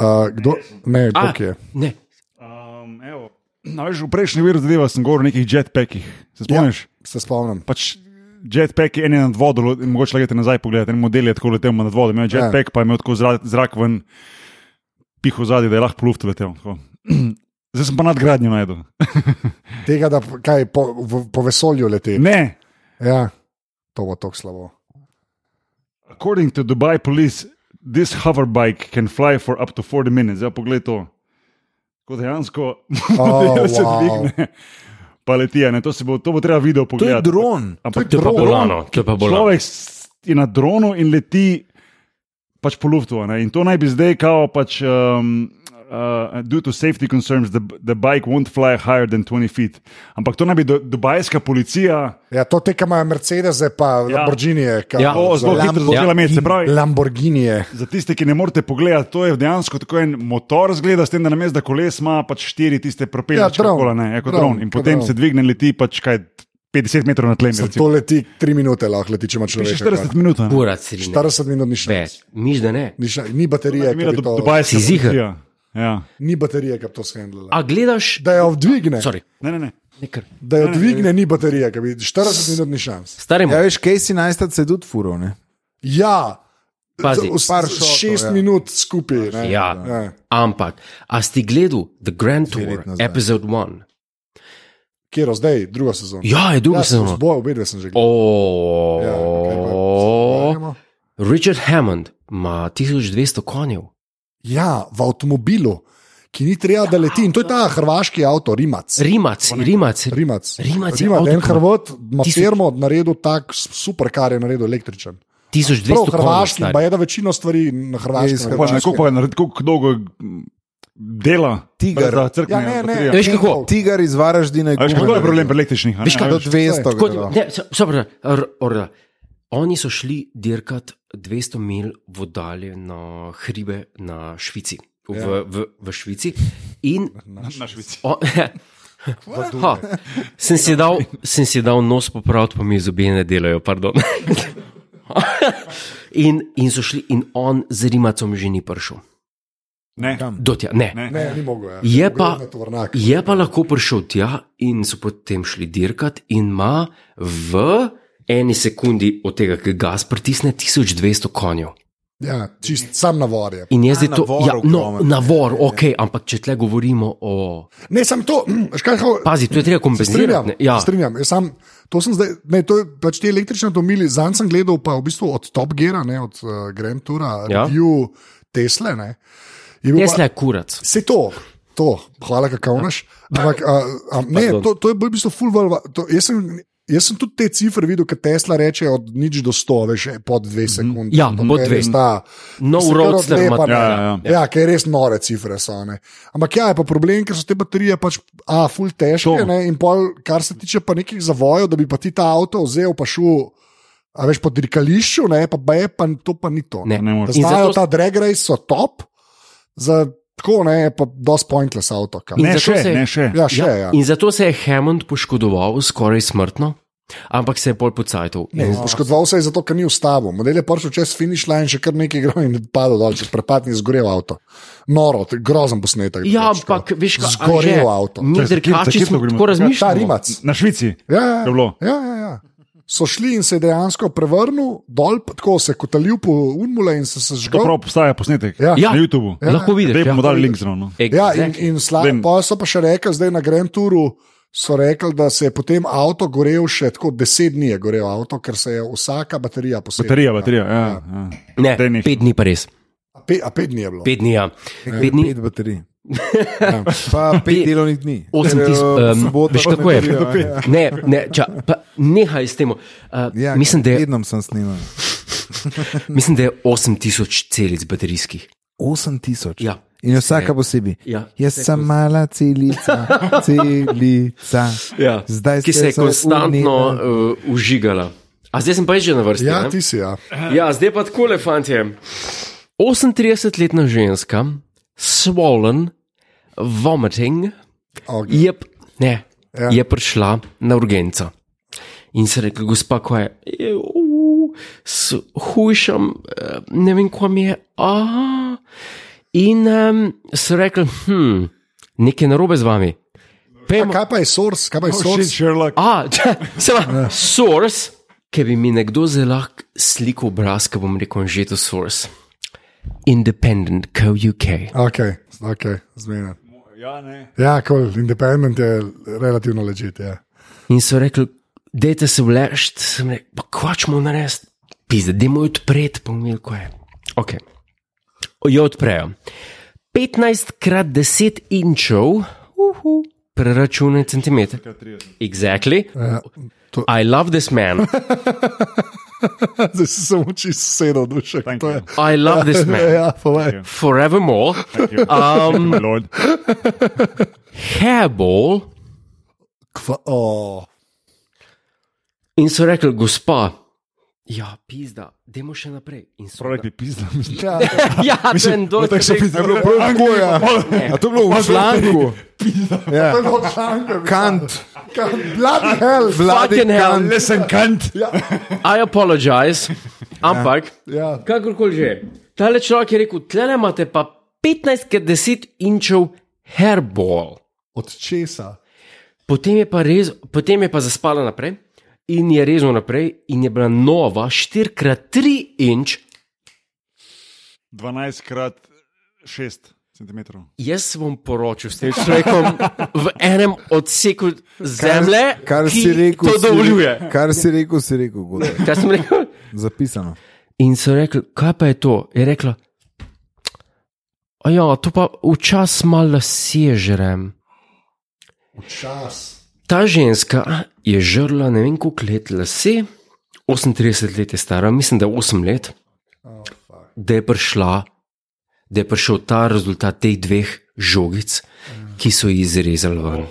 Uh, kdo? Ne,
A,
Bog je.
Ne.
Um, evo. No, veš, v prejšnji veri zadeva sem govoril o nekih jetpackih. Se
Ja.
spomniš?
Se spomnim.
Pač jetpack je en je nad vodo, lo- mogoče lagate nazaj pogledati, en model je tako letel nad vodo, imel
Ja.
je jetpack, pa je imel tako zrak, zrak ven, piho zadaj, da je lahko pluft letel. tako. Zdaj sem pa nadgradnjo najdel.
Tega, da p- kaj po, v, po vesolju leti.
Ne,
Ja, to bo tako slabo.
according to Dubai police, this hoverbike can fly for up to 40 minutes. Zdaj pogled to. Ko dejansko
Oh,
model se
wow.
dvigne, pa leti. a Ne? To, se bo, to bo treba video
To je
pogledati.
dron.
Ampak
To je pa bolano, to je pa bolano.
Človek s- je na dronu in leti pač po luftu. a ne. In to naj bi zdaj, kao pač, um, uh, due to safety concerns, the, the bike won't fly higher than 20 feet. Ampak to naj bi do, dubajska policija
Ja, to te, ki imajo Mercedese, pa ja. Lamborghinije. ka-
Ja.
to zelo
za-
hitro začela imeti. Se pravi,
Lamborghinije.
Za tiste, ki ne morete pogledati, to je dejansko tako en motor, zgleda, s tem, da na mestu koles ima pač štiri tiste propeljače,
Ja, dron.
kola, ne, kot
Dron,
dron. In
kot
potem
dron.
se dvigne in leti pač kaj 50 metrov na tlemi.
To leti tri minute, lahko leti, če ima
Še
človek.
40 minut. a ne.
Kurat si ne.
40 minut ni šlo.
Več. Miš, da ne.
Ni, šla- ni baterije, ki
Mira,
bi
do,
to,
Si
Dubajska
ziher?
policija. Ja.
ni baterije, ki bi to shendlala.
A gledaš?
Da jo dvigne,
Sorry,
Ne, ne, ne.
nekaj.
da jo dvigne, ni baterije, ki bi 40 minut ni šans.
Staremo.
Ja, veš, Casey Neistat se je tudi furov. ne?
Ja,
Pazi.
z- z-
Par šotov,
6
ja.
minut skupaj. ne.
Ja.
Ja.
Ampak, a si gledal The Grand Tour,
let nazaj.
epizode 1?
Kjer zdaj, druga sezona.
Ja, je druga
ja,
sezona.
Boje, obe dve sem že gledal. Ja, kaj pa,
Oh,
pogovarjamo?
Richard Hammond ima 1200 konjev.
Ja, v avtomobilu, ki ni treba, da leti. In to je ta hrvaški avto, Rimac.
Rimac, Rimac.
Rimac.
Rimac je
Rimac
avto,
en
ki-
Hrvat, ima
Tisoč-
firmo, naredil tak super, kar je naredil električen.
1200
Prav,
konjev.
hrvaški, pa
stari.
je da večino stvari na
Je iz
hrvaškem.
Pa
naredi.
ne, koliko pa je naredil, koliko dolgo mm, dela,
Tiger.
da crkne.
Ja, ne, ne.
baterija.
Veš kako?
Enkov.
Tigar iz Varaždina je
A Veš, kako je
kupil
problem pri električnih? a ne,
Veš, kaj-
a
do
veš?
200.
Tako,
gredo.
ne, so- so prav, r- orla. Oni so šli dirkat 200 mil v oddalje na hribe na Švici, v, ja. v, v Švici. In
Na Švici.
o, ha, sem, si dal, sem si dal nos popraviti, pa mi zobje ne delajo. pardon. in, in so šli, in on z Rimacom že ni prišel.
Ne,
Do tja, ne.
ne.
Ne, ni mogel. Ja.
Je pa,
Ogromno tovornjak.
je pa lahko prišel tja in so potem šli dirkat, in ima v eni sekundi od tega, ki gas pritisne, 1200 konjev.
Ja, čist, sam navor je.
In jaz zdaj
A,
to,
navor
ja, no,
ogromen.
navor,
ja.
ok, ampak če tle govorimo o.
Ne, sem to, škaj hočeš.
Pazi, to je treba
Se strinjam,
kompenzirati. ne, Ja,
se strinjam. Jaz Sam, to sem zdaj, ne, to je pač ti električni avtomobili. Zanj sem gledal pa v bistvu od Top Geara, ne, od uh, Grand Tura, ja.
Ja.
review Tesle. Ne, Je bil pa-
Tesla je kurac.
Se to, to, hvala, kakavnaš. Ampak a, a, ne,
Pardon.
to, to je bolj v bistvu full valva. To, jaz, sem, jaz sem tudi te cifre videl, ki Tesla reče od nič do sto, veš, pod dve sekunde.
Ja, pod dve.
Sta,
No, roadster ima-
Ja,
Ja,
ja, ja.
ja, ja. ja, ker res nore cifre so. Ne. Ampak ja, je pa problem, ker so te baterije pač, a, full težke.
To.
Ne, in pol, kar se tiče pa nekih zavojev, da bi pa ti ta avto vzel, pa šel, a veš, po dirkališču, ne, pa B, pa to pa ni to.
Ne.
Ne moreš.
In
Znajo
zato-
zato... ta drag race, so top, za tako ne, pa dosti pointless avto. kar.
In
Ne,
zato
še,
se-
ne, še.
Ja, še, ja.
In zato se je Hammond poškodoval skoraj smrtno, ampak se je pol pocajtal.
Ne, poškodoval se je zato, ker ni ustavil. Model je prišel čez finish line, še kar nekaj igral in padel dol, čez prepad in zgorel avto. Noro, to je grozen posnetek. drugače,
Ja, ampak
tako.
veš, kaj
pač, no. Zgorel avto. Ja,
Mi,
Čakaj, za kje- za
drkači, smo
kje smo govorili?
tako
Ta
razmišljali.
rimac.
Na Švici.
Ja,
Je bilo.
ja, ja, ja. So šli in se je dejansko prevrnil dol, pa tako se je kotalil po unmule in se, se
To
žgal.
prav postaja posnetek
Ja.
Ja.
na YouTubu.
Ja, lahko vidiš.
Zdaj
Ja.
bomo dali link zraven. no.
Ja, in,
Exactly.
in sla,
Vem.
pa so pa še rekli, zdaj na Grand Touru so rekli, da se je potem avto gorel še tako deset dni, je gorel avto, ker se je vsaka baterija posebej.
Baterija, baterija. Ja, ja.
Ne,
Daj nekaj.
pet dni pa res.
A, pe, a pet dni je bilo.
Pet dni, ja. Pet dni,
Pet baterij. Ja, Pa pet delovnih dni.
osem
Ker,
tisoč.
eh,
Um,
sobota
veš,
pa
kako je?
nedelja, ja.
Ne, ne, ča, pa, nehaj s tem. Uh,
Ja,
mislim, da je,
Vedno sem snimal.
mislim, da je 8000 celic baterijskih.
8000.
Ja.
In vsaka posebej.
Ja.
Jaz sem mala celica, celica.
Ja.
Zdaj
Ki se
ste
je
se
konstantno
unila.
uh, užigala. A zdaj sem pa jaz že na vrsti.
Ja,
ne?
ti si, ja.
Ja, zdaj pa tako, fantje. 38-letna ženska, swollen, vomiting,
Okay.
je, p- ne, ja.
Ja.
je prišla na urgenco. In se rekla, gospa, ko je, "Je, u, s hujšem, eh, ne vem, kam je. Aha. In um, se rekla, hm, nekaj je narobe z vami. Pejmo,
Kaj pa je source, kaj pa je
Oh, Shit,
source?
Sherlock.
A, samo source, ki bi mi nekdo zelo lahko slikal obraz, ki bom rekel, že to source. Independent, co UK.
Okay, okay, zmena.
Ja, ne.
Ja, kol, cool. independent je relativno ležit. Ja.
In so rekli, dajte se vleč, sem rekel, pa kvačmo narediti, pizde, dajmo jo odpreti, pomil, ko je. Ok. Jo odprejo. 15 krat 10 inčev, uhu, preračunaj centimeter. Exactly.
to-
I love this man.
Zdaj si samo čisto sedel dušek.
Thank
To je,
I love this man.
ja, povej.
Forevermore. Um,
My lord.
Hairball
Kva, oh.
in so rekli, gospa, ja, pizda, dajmo še naprej. In so
Prav rekli, pizda.
ja,
Ja, ten dol.
Tako so pisali, bilo prav tako, ja. A to je bilo v članku. Ja. Kant,
bloody hell.
vladi
Fucking hell.
Kant.
Lesen kant.
I apologize, ampak,
Ja.
kakorkoli že, tale človek je rekel, tle imate pa 15-10 inčev hairball.
Od česa?
Potem je, pa rez, potem je pa zaspala naprej in je rezno naprej, in je bila nova 4x3 inč.
12 krat 6 centimetrov.
Jaz se bom poročil s tem človekom v enem odseku zemlje,
kar
ki
si rekel,
to
si-
dovoljuje.
Kar si rekel, si rekel, Godo.
Kaj sem rekel?
zapisano.
In so rekli, kaj pa je to? Je rekla, "A ja, to pa včasih malo sežerem.
Čas.
Ta ženska je žrla ne vem koliko let lase, 38 let je stara, mislim, da 8 let,
Oh, fuck.
da je prišla, da je prišel ta rezultat teh dveh žogic,
Mm.
ki so jih izrezali ven.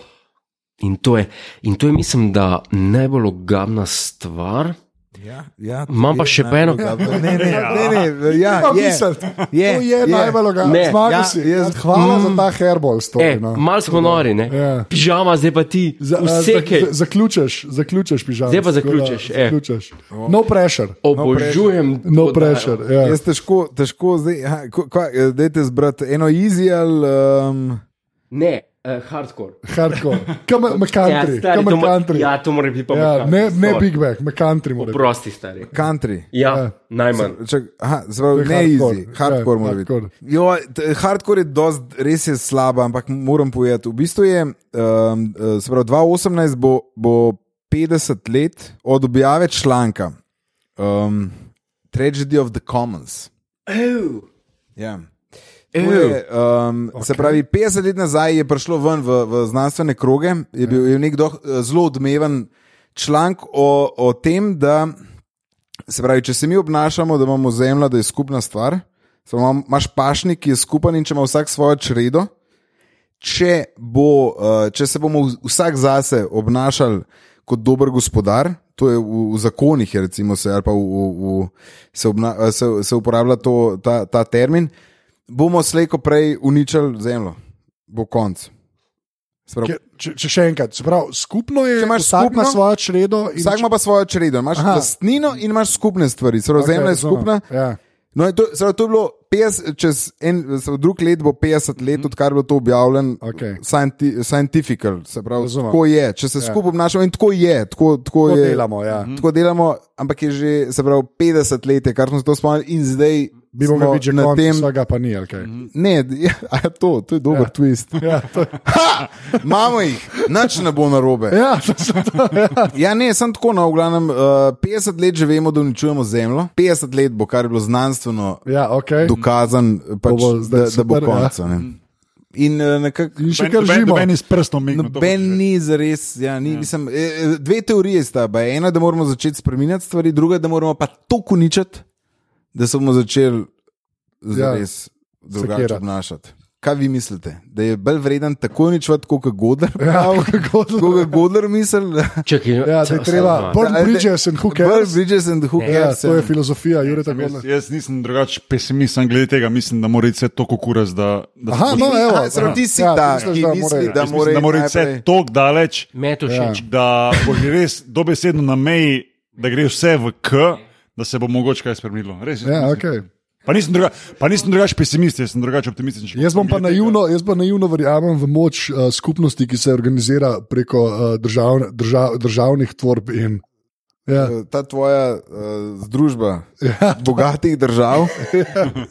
In to je, in to je mislim, da najbolj ogabna stvar,
Ja, ja, to
Imam pa
je
še pa eno-
najbolj dobro. Ne, ne, ne, ne, ja,
Ja,
je,
je, to je, je najbolj
Ne.
logično. Zmagal
Ja,
si.
jaz- Mm.
Hvala za ta herbol. Story,
E,
no.
Mal smo nori, ne?
Ja.
Pižama, zdaj pa ti.
Za, a, za,
Vseke.
za- zaključiš, zaključiš, pižam.
Zdaj pa zaključiš, eh.
zaključiš. No pressure,
Obožujem.
no
to
pressure.
dajo.
Ja.
Jaz težko, težko zdaj, aha, ko- kva- dajte zbrati eno easy ali. Um,
Ne, eh, hardcore.
Hardcore, kam
Ja,
country,
stari,
kam
to, mo-
country.
ja, to mora biti pa
Ja,
McCartney,
ne, ne
sorry.
Big Mac, McCountry mora biti.
Prosti, stari.
country.
Ja,
Ja.
najmanj.
Čak, aha, zelo
To je
ne
hardcore,
easy, hardcore
ja,
mora biti.
hardcore.
Jo, t- Hardcore je dost, res je slaba, ampak moram povedati. V bistvu je, um, se pravi, 2018 bo, bo 50 let od objave članka um, Tragedy of the Commons.
Ew.
Ja. To Je, um, okay. Se pravi, 50 let nazaj je prišlo ven v, v znanstvene kroge, je bil
Ja.
je nek doh, zelo odmeven članek o, o tem, da se pravi, če se mi obnašamo, da imamo zemljo, da je skupna stvar, samo imam- imaš pašnik, ki je skupen in če ima vsak svojo čredo. Če, bo, uh, če se bomo v- vsak zase obnašali kot dober gospodar, to je v, v zakonih, je recimo, se, ali pa v, v, v, se, obna, eh, se, se uporablja to, ta, ta termin, bomo slejko prej uničili zemljo, bo konc. Se Pravi,
Ker- Če, če še enkrat, se pravi, skupno je,
Če imaš
vsak ima
skupno,
svojo čredo in
vsak ima pa svojo čredo, imaš
Aha.
lastnino in imaš skupne stvari, se pravi,
Ok,
okay, zemlja je
razumem.
skupna.
Ja.
No, in to, zdaj, to je bilo 50, čez en, zdaj, drug let bo 50 let, odkar je bilo to objavljeno,
Mhm. Okej.
scienti, scientific, se pravi,
Razumem.
tako je. Če se ja. skupaj obnašamo, in tako je, tako, tako
Tako
je.
delamo, ja.
Tako delamo, ampak je že se pravi, 50 let, je, kar smo se to spomnili, in zdaj
Bi
smo
mogel biti že
na
konc,
tem.
vsega pa ni. ali kaj.
Ne, ja, a to, to je dober ja. twist.
Ja, to,
Ha! Imamo jih, nič ne bo narobe.
ja, to, so to, ja.
Ja, ne, sem tako na oglanem. Uh, 50 let že vemo, da uničujemo zemljo. 50 let bo, kar je bilo znanstveno
ja, okay.
dokazan,
bo
pač, bo
zdaj
da, da bo
super, ja.
konec. Ja. In eh, nekako.
In še kar živimo.
Meni s prstom migne. no,
Noben ni zares. Ja, ni, ja. Mislim, eh, eh, dve teorije sta. ba, Ena, da moramo začeti spremenjati stvari, druga, da moramo pa to uničiti, da se bomo začeli zares ja. drugače
Sekirati.
obnašati. Kaj vi mislite? Da je bolj vreden tako uničiti, kot je Godler?
Ja, kako to-
Kot je Godler misli?
Čakaj,
Ja, da je treba, burn
Da, da-
bridges and who
Bolj
cares.
bridges and who
Ja,
cares.
to je
ja.
filozofija, Jure tako.
Jaz, jaz nisem drugačen pesimist, sem glede tega mislim, da mora iti vse tako kuras, da, da,
Aha, no, evo.
Aha, se pravi, ti si
Ja,
ta,
misliš,
ki
da
misli,
morajo.
da
jaz mislim, da mora
mora
iti vse tako daleč,
Meto
Ja.
všeč.
da bo že res dobesedno na meji, da gre vse v K, da se bo mogoče kaj spremenilo. Res, jaz
Ja,
mislim.
okay.
Pa nisem druga- pa nisem drugačen pesimist, jaz sem drugačen optimist.
Jaz bom pa naivno, jaz pa naivno verjamem v moč uh, skupnosti, ki se organizira preko uh, držav, držav, državnih tvorb in. Ja,
Eh, ta tvoja uh, združba ja. bogatih držav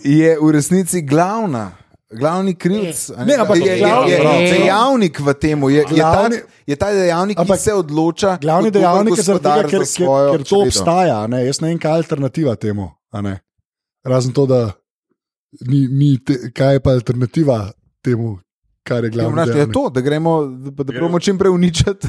je v resnici glavna. Glavni krivc a
Ne, ampak
je, je,
glavni-
je, je
Prav.
dejavnik v tem, je, je, ta,
Glavni-
je ta dejavnik,
Ampak
ki se odloča.
glavni
kot dober
dejavnik je zaradi tega,
gospodar
ker,
za
ker,
svojo
ker to
čredo.
obstaja. a Ne? Jaz ne vem, kaj je alternativa temu. a ne. Razen to, da ni, ni te, kaj je pa alternativa temu, kar je
Ja,
glavno.
vnašaj, je to, da gremo, da, da probamo čim prej uničiti. Pa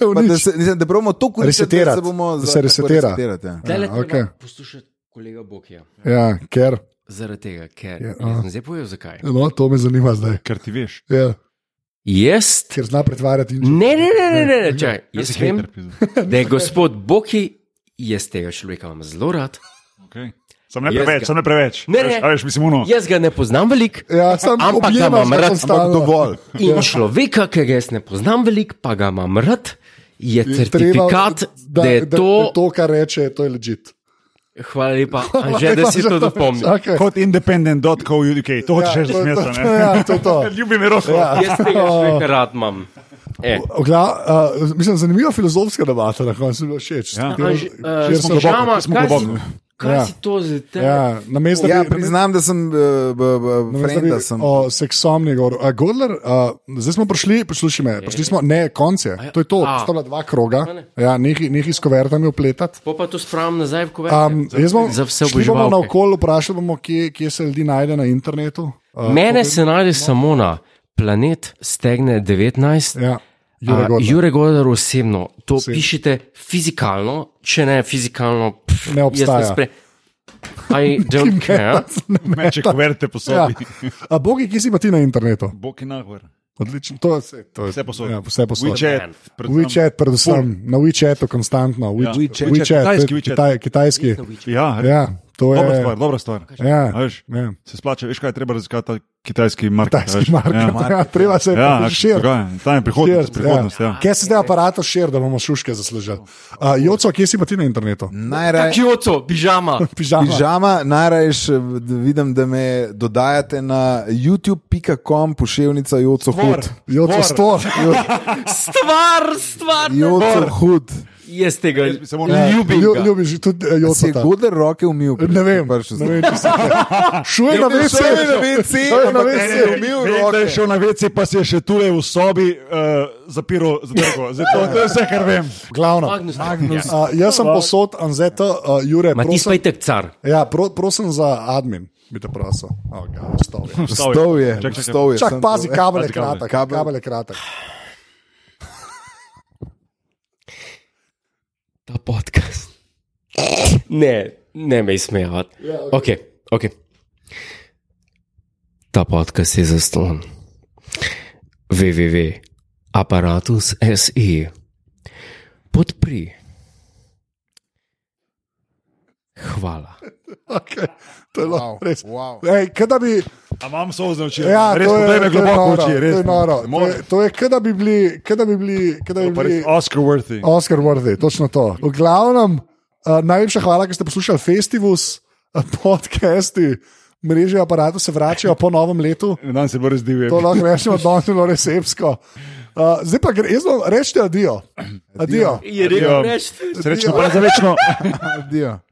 Da,
Unič,
se, mislim, da probamo to uničiti, da
Resetirati,
se bomo
da
za-
se
tako
resetira.
resetirati, ja.
Tele
Ja,
treba
okej.
poslušati kolega Bokija.
ja, ker.
Zaradi tega, ker
Ja,
ja,
aha.
sem zdaj povedal, zakaj.
No, to me zanima zdaj.
Ker ti veš.
Ja,
Jaz.
ker zna pretvarjati in
Ne, ne, ne, ne, ne, ne.
Ja,
Čaj,
Jaz
jaz
si
vem,
hater, pizda.
da je gospod Boki, jaz tega človeka imam zelo rad.
Okej. Sem ne
Jaz
preveč,
ga-
sem ne preveč.
Ne, ne.
A veš- A veš, mislim, uno.
Jaz ga ne poznam veliko.
Ja, sam
Ampak ga
objemaš
imam
ga
rad,
konstalno.
Ampak dovolj.
In človeka, ki ga jaz ne poznam veliko, pa ga imam rad, je certifikat, da, da je to.
to, kar reče, to je Ja, ležit.
Hvala lepa, Anže, da si to dopomnil.
Okay.
Kot independent.co.uk, to hočeš reči, da sem jaz. a ne?
Ja, to je to.
Ljubim Roko. Ja.
Jaz tega človeka rad imam. E.
Ogla, uh, mislim, zanimiva filozofska debata, na koncu mi je bilo všeč.
Ja.
Ker-
Anže,
ker
eh,
sem
globoko,
Žama,
kje smo
kaj si-
globoko?
Kaj
Ja.
si to zdaj? te-
Ja, namesto,
Ja,
da bi-
priznam, da sem
namesto, da
frenda.
bi O seksomni govor. A, Godler, a, zdaj smo prišli, poslušaj me, prišli smo, ne, konce, to je to,
A.
ostala dva kroga,
A ne.
ja, nekaj, nekaj s kovertami upletati.
Po pa to spravim nazaj, ko
Um, jaz bom
Ja, Za vse
šli bomo
oboževalke.
naokol, vprašali bomo, kje, kje se ljudi najde na internetu. Uh,
Mene se najde samo na planet Stegne 19.
ja, Jure
a,
Godler.
Jure Godar osebno, to
Osebno.
Oseb. pišite fizikalno, če ne fizikalno, pff, jaz
Ne obstaja.
spre- I don't care.
Meče, kuverte po sobi.
Ja. A, Bogi, kje si pa ti na internetu?
Bog in nahver.
Odlično, to je vse. To je,
Vse posod.
Ja, vse posod.
WeChat, predvsem.
WeChat, predvsem na WeChatu konstantno, We-
Ja.
WeChat,
WeChat,
to je
kitajski WeChat.
Kitaj, kitajski.
Ja, ja.
Ja, to
Dobra
je.
stvar, dobra stvar.
Ja,
A veš?
ja.
Se splača, veš kaj je treba raziskati, ta kitajski market. veš?
Tajski market,
Ja.
ja. treba se
Ja,
širiti.
ja, tam je prihodnost. prihodnost ja.
Kje se zdaj aparato širi, da bomo šuške zaslužili? Uh, Joco, kje si pa ti na internetu?
Najraje.
Kyoto, pižama.
Pižama.
Mm. Pižama, najraje eh, vidim, da me dodajate na youtube.com, pošiljka Joco Hud.
Joco stor.
Stvar, stvar.
Joco Hud.
Jaz tega
Jaz bi se moral-
ne ljubim.
Lju-
ga.
Ljubiš tudi eh,
Si je
Joco.
Godler roke umil? Pač pri-
Ne vem,
prišel
ne
sem.
vem, če se šuje na
Šel
vece.
je na WC,
Šel je na
ampak
WC.
ne, ne, ne. umil
Vem, da je
roke.
šel na vece, pa si je še tule v sobi uh, zapiral zadrgo. Zdaj, to, to je vse, kar vem.
Glavno.
Magnus. Ja. Magnus.
Uh, jaz sem posod, Anzeta, uh, Jure,
Ma ti
prosim,
spaj tek car.
ja, pro, prosim za admin, bi te prosil. Oh, God, vstal je.
Stov je,
Čak, čak, čak.
stov je.
Čak,
sem
pazi,
to-
kabel je
Pazi, kabel.
kratek.
Kabel.
Kabel je kratek.
Ta podcast. Ne, ne me izmejavati. Okay, okay. Ta podcast je zaslon. www.apparatus.se Podpri. Hvala.
Okay. To je wow. res.
wow.
Ej, kaj da bi,
A imam solze oči.
ja,
res
to je,
potem
to
je
je
globoko
noro,
oči. Res,
to je noro.
ne
To
morem.
je, to je, kaj da bi bili, kaj da bi bili, kaj da bi
Pa res
bili
Oscar worthy.
Oscar worthy, točno to. V glavnem, uh, najlepša hvala, ker ste poslušali Festivus, uh, podcasti, mreže aparatov se vračajo po novem letu.
Dan se bo res divil.
To lahko rečemo, da je bilo res epsko. Uh, zdaj pa gre, jaz vam rečem, adijo. Adijo.
Je
rekel,
rekel,
Adijo.
reči.
Srečno, pa za Ja. večno.
Adijo.